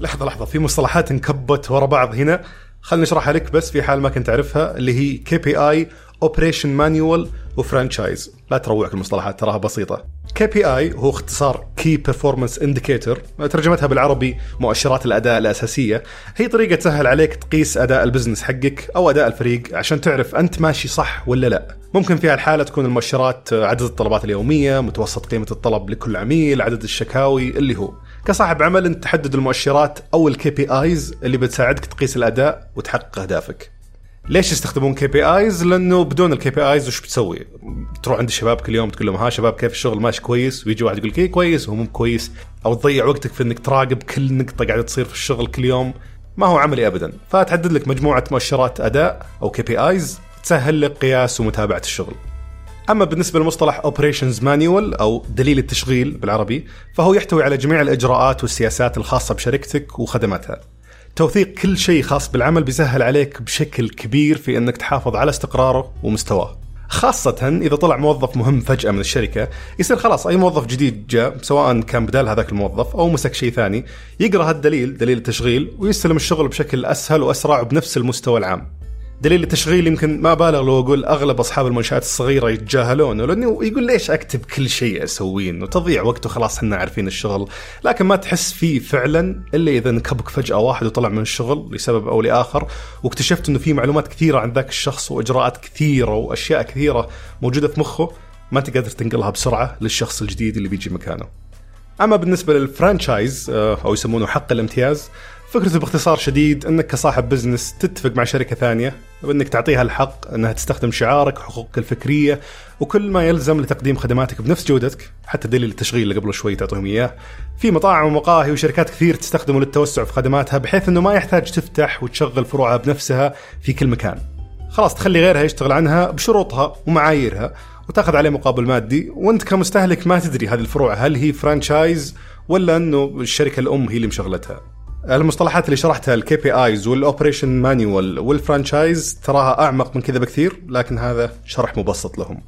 [SPEAKER 3] لحظه لحظه في مصطلحات انكبت ورا بعض هنا خلني اشرحها لك بس في حال ما كنت تعرفها اللي هي كي بي اي اوبريشن مانيوال وفرانشايز لا تروعك المصطلحات تراها بسيطه كي بي اي هو اختصار كي بيرفورمانس انديكيتور ترجمتها بالعربي مؤشرات الاداء الاساسيه هي طريقه تسهل عليك تقيس اداء البزنس حقك او اداء الفريق عشان تعرف انت ماشي صح ولا لا ممكن في هالحاله تكون المؤشرات عدد الطلبات اليوميه متوسط قيمه الطلب لكل عميل عدد الشكاوي اللي هو كصاحب عمل انت تحدد المؤشرات او الكي بي ايز اللي بتساعدك تقيس الاداء وتحقق اهدافك. ليش يستخدمون كي بي ايز؟ لانه بدون الكي بي ايز وش بتسوي؟ تروح عند الشباب كل يوم تقول لهم ها شباب كيف الشغل ماشي كويس ويجي واحد يقول لك ايه كويس ومو كويس او تضيع وقتك في انك تراقب كل نقطه قاعده تصير في الشغل كل يوم ما هو عملي ابدا فتحدد لك مجموعه مؤشرات اداء او كي بي ايز تسهل لك قياس ومتابعه الشغل. اما بالنسبه لمصطلح اوبريشنز مانيوال او دليل التشغيل بالعربي فهو يحتوي على جميع الاجراءات والسياسات الخاصه بشركتك وخدماتها. توثيق كل شيء خاص بالعمل بيسهل عليك بشكل كبير في انك تحافظ على استقراره ومستواه. خاصة إذا طلع موظف مهم فجأة من الشركة يصير خلاص أي موظف جديد جاء سواء كان بدال هذاك الموظف أو مسك شيء ثاني يقرأ هالدليل دليل التشغيل ويستلم الشغل بشكل أسهل وأسرع وبنفس المستوى العام دليل التشغيل يمكن ما بالغ لو اقول اغلب اصحاب المنشات الصغيره يتجاهلونه لانه يقول ليش اكتب كل شيء اسويه انه تضيع وقت وخلاص احنا عارفين الشغل، لكن ما تحس فيه فعلا الا اذا انكبك فجاه واحد وطلع من الشغل لسبب او لاخر واكتشفت انه في معلومات كثيره عن ذاك الشخص واجراءات كثيره واشياء كثيره موجوده في مخه ما انت قادر تنقلها بسرعه للشخص الجديد اللي بيجي مكانه. اما بالنسبه للفرانشايز آه، او يسمونه حق الامتياز فكرته باختصار شديد انك كصاحب بزنس تتفق مع شركه ثانيه وانك تعطيها الحق انها تستخدم شعارك وحقوقك الفكريه وكل ما يلزم لتقديم خدماتك بنفس جودتك حتى دليل التشغيل اللي قبل شوي تعطيهم اياه في مطاعم ومقاهي وشركات كثير تستخدمه للتوسع في خدماتها بحيث انه ما يحتاج تفتح وتشغل فروعها بنفسها في كل مكان خلاص تخلي غيرها يشتغل عنها بشروطها ومعاييرها وتاخذ عليه مقابل مادي وانت كمستهلك ما تدري هذه الفروع هل هي فرانشايز ولا انه الشركه الام هي اللي مشغلتها المصطلحات اللي شرحتها الكي بي ايز والاوبريشن مانيوال والفرانشايز تراها اعمق من كذا بكثير لكن هذا شرح مبسط لهم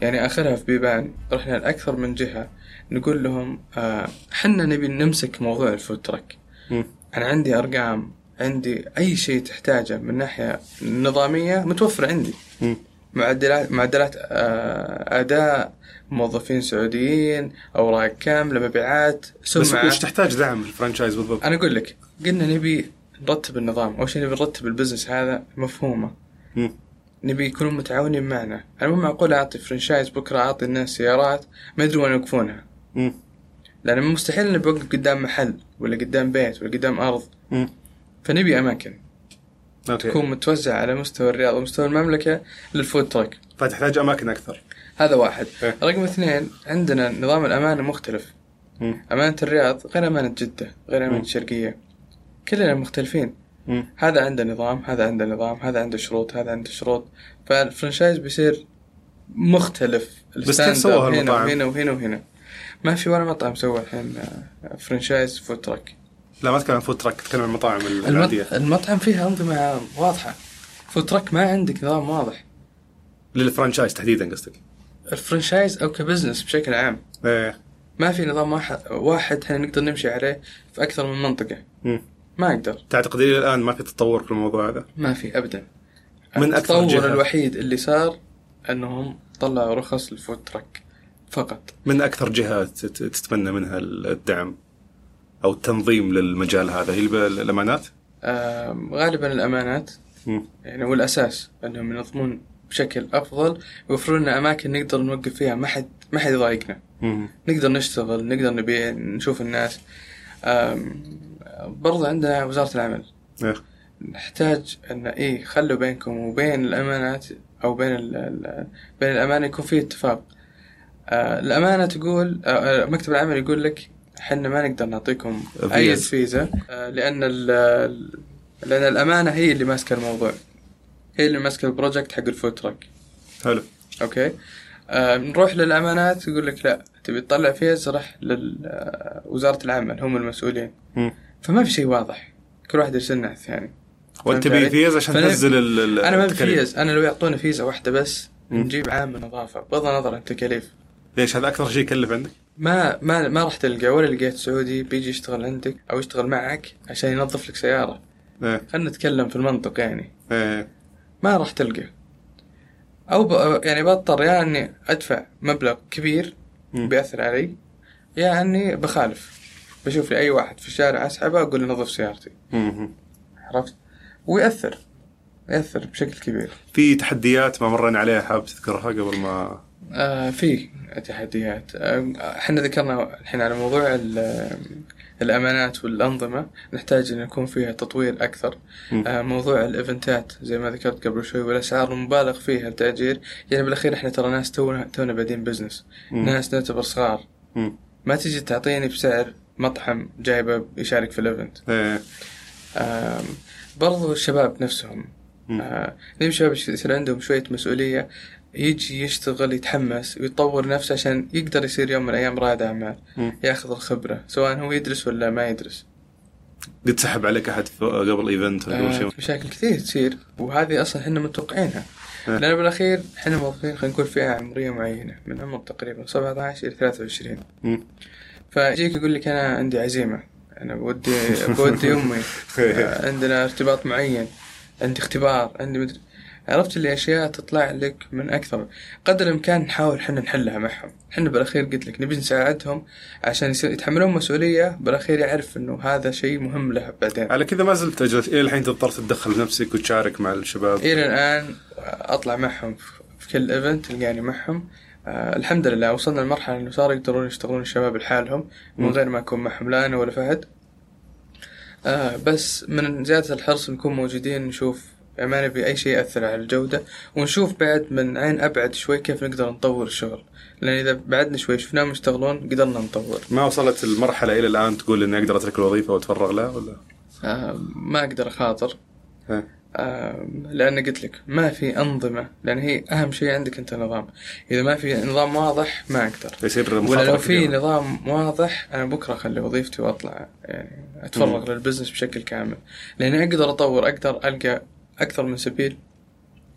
[SPEAKER 2] يعني اخرها في بيبان رحنا لاكثر من جهه نقول لهم آه، حنا نبي نمسك موضوع الفود تراك
[SPEAKER 1] مم.
[SPEAKER 2] انا عندي ارقام عندي اي شيء تحتاجه من ناحيه نظاميه متوفر عندي
[SPEAKER 1] مم.
[SPEAKER 2] معدلات معدلات آه، اداء موظفين سعوديين اوراق كامله مبيعات
[SPEAKER 1] بس
[SPEAKER 2] سمعه
[SPEAKER 1] وش تحتاج دعم الفرانشايز بالضبط؟
[SPEAKER 2] انا اقول لك قلنا نبي نرتب النظام اول شيء نبي نرتب البزنس هذا مفهومه
[SPEAKER 1] مم.
[SPEAKER 2] نبي يكونون متعاونين معنا انا مو معقول اعطي فرنشايز بكره اعطي الناس سيارات ما يدرون وين يوقفونها
[SPEAKER 1] مم.
[SPEAKER 2] لان مستحيل اني بوقف قدام محل ولا قدام بيت ولا قدام ارض
[SPEAKER 1] مم.
[SPEAKER 2] فنبي اماكن
[SPEAKER 1] اوكي
[SPEAKER 2] تكون متوزعه على مستوى الرياض ومستوى المملكه للفود تراك
[SPEAKER 1] فتحتاج اماكن اكثر
[SPEAKER 2] هذا واحد
[SPEAKER 1] إيه.
[SPEAKER 2] رقم اثنين عندنا نظام الامانه مختلف
[SPEAKER 1] مم.
[SPEAKER 2] امانه الرياض غير امانه جده غير امانه
[SPEAKER 1] مم.
[SPEAKER 2] الشرقيه كلنا مختلفين
[SPEAKER 1] مم.
[SPEAKER 2] هذا عنده نظام هذا عنده نظام هذا عنده شروط هذا عنده شروط فالفرنشايز بيصير مختلف
[SPEAKER 1] بس
[SPEAKER 2] الستاند
[SPEAKER 1] كيف سووها
[SPEAKER 2] أب هنا
[SPEAKER 1] المطاعم؟
[SPEAKER 2] وهنا وهنا وهنا ما في ولا مطعم سوى الحين آه، فرنشايز فود تراك
[SPEAKER 1] لا ما تتكلم عن فود تراك تتكلم عن المطاعم
[SPEAKER 2] المط...
[SPEAKER 1] العاديه
[SPEAKER 2] المطعم فيها انظمه واضحه فود تراك ما عندك نظام واضح
[SPEAKER 1] للفرانشايز تحديدا قصدك
[SPEAKER 2] الفرنشايز او كبزنس بشكل عام
[SPEAKER 1] ايه
[SPEAKER 2] ما في نظام واحد واحد احنا نقدر نمشي عليه في اكثر من منطقه
[SPEAKER 1] مم.
[SPEAKER 2] ما اقدر
[SPEAKER 1] تعتقد الى الان ما في تطور في الموضوع هذا؟
[SPEAKER 2] ما في ابدا
[SPEAKER 1] من أكثر
[SPEAKER 2] التطور
[SPEAKER 1] جهة.
[SPEAKER 2] الوحيد اللي صار انهم طلعوا رخص للفود تراك فقط
[SPEAKER 1] من اكثر جهه تت- تتمنى منها الدعم او التنظيم للمجال هذا هي الب- الامانات؟
[SPEAKER 2] آم، غالبا الامانات
[SPEAKER 1] مم.
[SPEAKER 2] يعني هو الاساس انهم ينظمون بشكل افضل ويوفرون لنا اماكن نقدر نوقف فيها ما حد ما حد يضايقنا
[SPEAKER 1] مم.
[SPEAKER 2] نقدر نشتغل نقدر نبيع نشوف الناس آم، برضه عندنا وزاره العمل
[SPEAKER 1] إيه.
[SPEAKER 2] نحتاج ان ايه خلوا بينكم وبين الامانات او بين ال ال بين الامانه يكون في اتفاق آه الامانه تقول آه آه، مكتب العمل يقول لك احنا ما نقدر نعطيكم اي
[SPEAKER 1] فيز.
[SPEAKER 2] فيزا آه لان ال- ال- لان الامانه هي اللي ماسكه الموضوع هي اللي ماسكه البروجكت حق الفود تراك
[SPEAKER 1] حلو
[SPEAKER 2] اوكي آه نروح للامانات يقول لك لا تبي تطلع فيز راح لوزاره العمل هم المسؤولين
[SPEAKER 1] مم.
[SPEAKER 2] فما في شيء واضح كل واحد يرسلنا على الثاني
[SPEAKER 1] وانت
[SPEAKER 2] فهمت علي؟
[SPEAKER 1] تبي فيز عشان
[SPEAKER 2] فأنا-
[SPEAKER 1] تنزل ال- ال-
[SPEAKER 2] انا ما
[SPEAKER 1] التكاليف.
[SPEAKER 2] بفيز انا لو يعطونا فيزا واحده بس
[SPEAKER 1] مم.
[SPEAKER 2] نجيب عام نظافه بغض النظر عن التكاليف
[SPEAKER 1] ليش هذا اكثر شيء يكلف عندك؟
[SPEAKER 2] ما ما ما راح تلقى ولا لقيت سعودي بيجي يشتغل عندك او يشتغل معك عشان ينظف لك سياره
[SPEAKER 1] ايه
[SPEAKER 2] خلينا نتكلم في المنطق يعني
[SPEAKER 1] ايه
[SPEAKER 2] ما راح تلقى او ب... يعني بضطر يا اني ادفع مبلغ كبير
[SPEAKER 1] مم.
[SPEAKER 2] بياثر علي يا اني بخالف بشوف لي اي واحد في الشارع اسحبه اقول له نظف سيارتي
[SPEAKER 1] مم.
[SPEAKER 2] عرفت ويأثر يأثر بشكل كبير
[SPEAKER 1] في تحديات ما مرينا عليها حاب تذكرها قبل ما
[SPEAKER 2] آه في تحديات آه، احنا ذكرنا الحين على موضوع ال- الامانات والانظمه نحتاج ان يكون فيها تطوير اكثر
[SPEAKER 1] مم.
[SPEAKER 2] آه موضوع الايفنتات زي ما ذكرت قبل شوي والاسعار المبالغ فيها التاجير يعني بالاخير احنا ترى ناس تونا تونا بادين بزنس
[SPEAKER 1] مم.
[SPEAKER 2] ناس نعتبر صغار
[SPEAKER 1] مم.
[SPEAKER 2] ما تجي تعطيني بسعر مطعم
[SPEAKER 1] إيه.
[SPEAKER 2] جايبه يشارك في الايفنت
[SPEAKER 1] ايه
[SPEAKER 2] آم، برضو الشباب نفسهم آه، ليه شباب يصير عندهم شويه مسؤوليه يجي يشتغل يتحمس ويطور نفسه عشان يقدر يصير يوم من الايام رائد اعمال
[SPEAKER 1] مم.
[SPEAKER 2] ياخذ الخبره سواء هو يدرس ولا ما يدرس
[SPEAKER 1] قد سحب عليك احد ف- قبل ايفنت ولا قبل
[SPEAKER 2] آه،
[SPEAKER 1] شيء
[SPEAKER 2] مشاكل كثير تصير وهذه اصلا احنا متوقعينها
[SPEAKER 1] آه.
[SPEAKER 2] لان بالاخير احنا موظفين خلينا نقول فئه عمريه معينه من عمر تقريبا 17 الى 23
[SPEAKER 1] مم.
[SPEAKER 2] فيجيك يقول لك انا عندي عزيمه انا بودي بودي امي
[SPEAKER 1] إيه.
[SPEAKER 2] آه، عندنا ارتباط معين عندي اختبار عندي مدري عرفت اللي اشياء تطلع لك من اكثر قدر الامكان نحاول احنا نحلها معهم احنا بالاخير قلت لك نبي نساعدهم عشان يصير- يتحملون مسؤوليه بالاخير يعرف انه هذا شيء مهم له بعدين
[SPEAKER 1] على كذا ما زلت اجل الى الحين تضطر تتدخل بنفسك وتشارك مع الشباب
[SPEAKER 2] الى الان اطلع معهم في كل ايفنت تلقاني معهم آه الحمد لله وصلنا لمرحله انه صاروا يقدرون يشتغلون الشباب لحالهم من غير ما اكون معهم لا انا ولا فهد آه بس من زياده الحرص نكون موجودين نشوف ما نبي اي شيء ياثر على الجوده ونشوف بعد من عين ابعد شوي كيف نقدر نطور الشغل لان اذا بعدنا شوي شفناهم يشتغلون قدرنا نطور
[SPEAKER 1] ما وصلت المرحله الى الان تقول اني اقدر اترك الوظيفه واتفرغ لها ولا
[SPEAKER 2] آه ما اقدر اخاطر
[SPEAKER 1] ها.
[SPEAKER 2] آه، لان قلت لك ما في انظمه لان هي اهم شيء عندك انت نظام اذا ما في نظام واضح ما اقدر
[SPEAKER 1] يصير
[SPEAKER 2] ولا
[SPEAKER 1] مخاطره
[SPEAKER 2] لو في
[SPEAKER 1] كبيرة.
[SPEAKER 2] نظام واضح انا بكره اخلي وظيفتي واطلع يعني اتفرغ للبزنس بشكل كامل لاني اقدر اطور اقدر القى اكثر من سبيل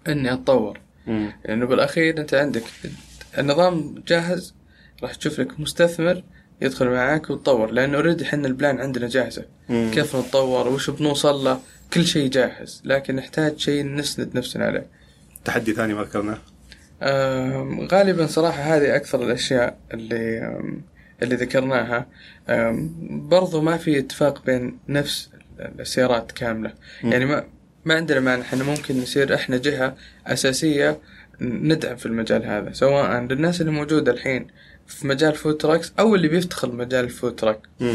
[SPEAKER 2] اني اتطور
[SPEAKER 1] مم.
[SPEAKER 2] لانه بالاخير انت عندك النظام جاهز راح تشوف لك مستثمر يدخل معاك وتطور لانه اوريدي احنا البلان عندنا جاهزه
[SPEAKER 1] مم.
[SPEAKER 2] كيف نتطور وش بنوصل له كل شيء جاهز لكن نحتاج شيء نسند نفسنا عليه
[SPEAKER 1] تحدي ثاني ما ذكرناه
[SPEAKER 2] أم، غالبا صراحة هذه أكثر الأشياء اللي أم، اللي ذكرناها أم، برضو ما في اتفاق بين نفس السيارات كاملة يعني ما ما عندنا مانع احنا ممكن نصير احنا جهة أساسية ندعم في المجال هذا سواء للناس اللي موجودة الحين في مجال فود تراكس أو اللي بيفتخر مجال الفود تراك
[SPEAKER 1] مم.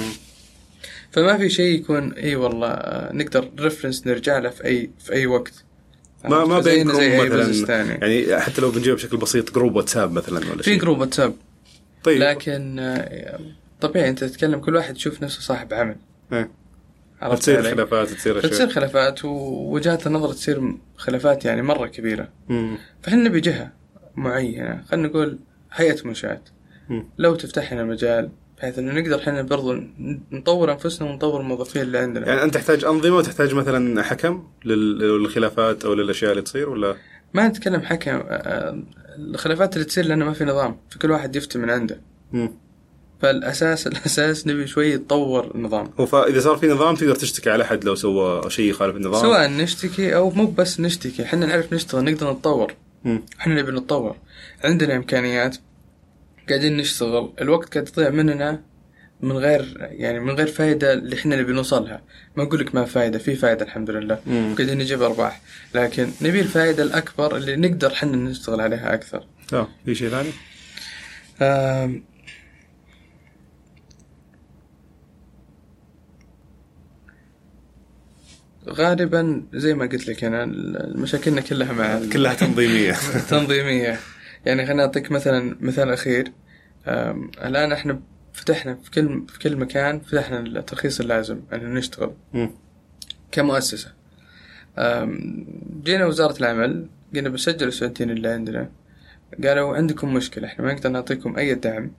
[SPEAKER 2] فما في شيء يكون اي والله آه، نقدر ريفرنس نرجع له في اي في اي وقت
[SPEAKER 1] ما ما بينكم
[SPEAKER 2] زينا زي أي business
[SPEAKER 1] مثلا
[SPEAKER 2] تاني.
[SPEAKER 1] يعني حتى لو بنجيبها بشكل بسيط جروب واتساب مثلا ولا
[SPEAKER 2] في
[SPEAKER 1] شيء
[SPEAKER 2] جروب واتساب
[SPEAKER 1] طيب
[SPEAKER 2] لكن آه، طبيعي انت تتكلم كل واحد يشوف نفسه صاحب عمل
[SPEAKER 1] إيه.
[SPEAKER 2] عرفت
[SPEAKER 1] تصير
[SPEAKER 2] علي؟
[SPEAKER 1] خلافات تصير
[SPEAKER 2] فتصير
[SPEAKER 1] اشياء
[SPEAKER 2] خلافات ووجهات النظر تصير خلافات يعني مره كبيره
[SPEAKER 1] مم.
[SPEAKER 2] فاحنا نبي جهه معينه خلينا نقول هيئه منشات
[SPEAKER 1] مم.
[SPEAKER 2] لو تفتح لنا مجال بحيث انه نقدر احنا برضو نطور انفسنا ونطور الموظفين اللي عندنا
[SPEAKER 1] يعني انت تحتاج انظمه وتحتاج مثلا حكم لل- للخلافات او للاشياء اللي تصير ولا
[SPEAKER 2] ما نتكلم حكم آه، آه، الخلافات اللي تصير لانه ما في نظام فكل واحد يفتي من عنده
[SPEAKER 1] مم.
[SPEAKER 2] فالاساس الاساس نبي شوي نطور النظام
[SPEAKER 1] هو فاذا صار في نظام تقدر تشتكي على احد لو سوى شيء يخالف النظام
[SPEAKER 2] سواء نشتكي او مو بس نشتكي احنا نعرف نشتغل نقدر نتطور
[SPEAKER 1] مم.
[SPEAKER 2] احنا نبي نتطور عندنا امكانيات قاعدين نشتغل الوقت قاعد يضيع مننا من غير يعني من غير فائده اللي احنا نبي نوصلها ما اقول لك ما فائده في فائده الحمد لله
[SPEAKER 1] مم.
[SPEAKER 2] قاعدين نجيب ارباح لكن نبي الفائده الاكبر اللي نقدر احنا نشتغل عليها اكثر
[SPEAKER 1] لا آه، في شيء ثاني
[SPEAKER 2] آم، غالبا زي ما قلت لك انا مشاكلنا كلها مع ال-
[SPEAKER 1] كلها تنظيميه
[SPEAKER 2] تنظيميه يعني خليني اعطيك مثلا مثال اخير آم، الان احنا فتحنا في كل في كل مكان فتحنا الترخيص اللازم ان نشتغل
[SPEAKER 1] مم.
[SPEAKER 2] كمؤسسه آم، جينا وزاره العمل قلنا بسجلوا السعوديين اللي عندنا قالوا عندكم مشكله احنا ما نقدر نعطيكم اي دعم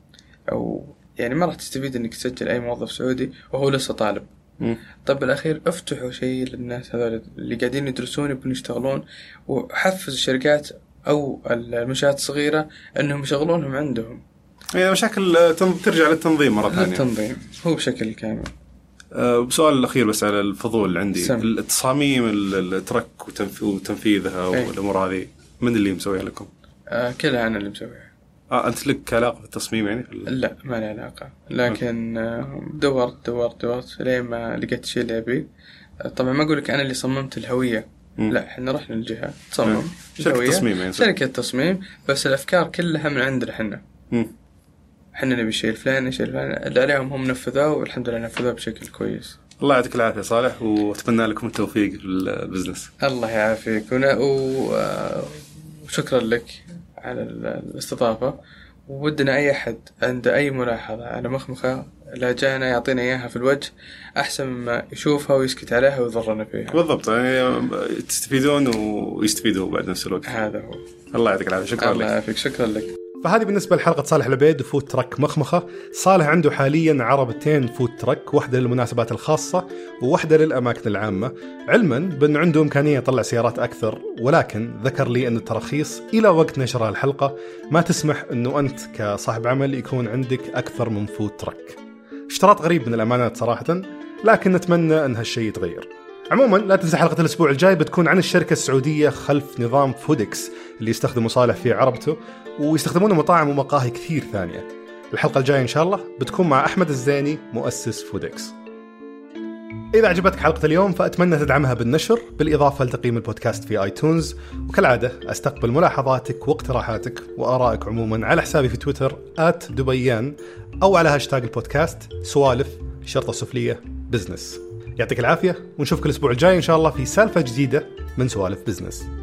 [SPEAKER 2] او يعني ما راح تستفيد انك تسجل اي موظف سعودي وهو لسه طالب
[SPEAKER 1] مم.
[SPEAKER 2] طب بالاخير افتحوا شيء للناس هذول اللي قاعدين يدرسون يبون يشتغلون وحفز الشركات او المنشات الصغيره انهم يشغلونهم عندهم
[SPEAKER 1] يعني مشاكل آه، تن- ترجع للتنظيم مره ثانيه
[SPEAKER 2] للتنظيم هو بشكل كامل
[SPEAKER 1] آه، سؤال الاخير بس على الفضول عندي
[SPEAKER 2] سم.
[SPEAKER 1] التصاميم ال- الترك وتنف- وتنفيذها
[SPEAKER 2] إيه.
[SPEAKER 1] والامور هذه من اللي مسويها لكم؟
[SPEAKER 2] آه كلها انا اللي مسويها
[SPEAKER 1] اه انت لك علاقه بالتصميم يعني؟ في ال-
[SPEAKER 2] لا ما لي علاقه لكن آه دورت دورت دورت لين ما لقيت الشيء اللي ابيه آه، طبعا ما اقول لك انا اللي صممت الهويه
[SPEAKER 1] مم.
[SPEAKER 2] لا احنا رحنا للجهه
[SPEAKER 1] مم.
[SPEAKER 2] تصمم
[SPEAKER 1] شركة
[SPEAKER 2] الهوية.
[SPEAKER 1] تصميم يعني.
[SPEAKER 2] شركه تصميم بس الافكار كلها من عندنا احنا
[SPEAKER 1] مم.
[SPEAKER 2] احنا نبي الشيء الفلاني الشيء الفلاني اللي عليهم هم نفذوه والحمد لله نفذوه بشكل كويس
[SPEAKER 1] الله يعطيك العافيه صالح واتمنى لكم التوفيق في البزنس
[SPEAKER 2] الله يعافيك ونا- و- آه، وشكرا لك على ال- الاستضافة ودنا اي احد عنده اي ملاحظه على مخمخه لا جانا يعطينا اياها في الوجه احسن مما يشوفها ويسكت عليها ويضرنا فيها
[SPEAKER 1] بالضبط يعني تستفيدون ويستفيدوا بعد نفس الوقت
[SPEAKER 2] هذا هو
[SPEAKER 1] الله يعطيك العافيه شكرا
[SPEAKER 2] الله
[SPEAKER 1] لك
[SPEAKER 2] يعافيك شكرا لك
[SPEAKER 3] فهذه بالنسبه لحلقه صالح العبيد وفود ترك مخمخه صالح عنده حاليا عربتين فود ترك واحده للمناسبات الخاصه وواحده للاماكن العامه علما بان عنده امكانيه يطلع سيارات اكثر ولكن ذكر لي ان التراخيص الى وقت نشر الحلقه ما تسمح انه انت كصاحب عمل يكون عندك اكثر من فود ترك اشتراط غريب من الامانه صراحه لكن نتمنى ان هالشيء يتغير عموما لا تنسى حلقه الاسبوع الجاي بتكون عن الشركه السعوديه خلف نظام فودكس اللي يستخدمه صالح في عربته ويستخدمونه مطاعم ومقاهي كثير ثانيه. الحلقه الجايه ان شاء الله بتكون مع احمد الزيني مؤسس فودكس. إذا عجبتك حلقة اليوم فأتمنى تدعمها بالنشر بالإضافة لتقييم البودكاست في آيتونز وكالعادة أستقبل ملاحظاتك واقتراحاتك وآرائك عموما على حسابي في تويتر @دبيان أو على هاشتاج البودكاست سوالف شرطة سفلية بزنس يعطيك العافية ونشوفك الأسبوع الجاي إن شاء الله في سالفة جديدة من سوالف بزنس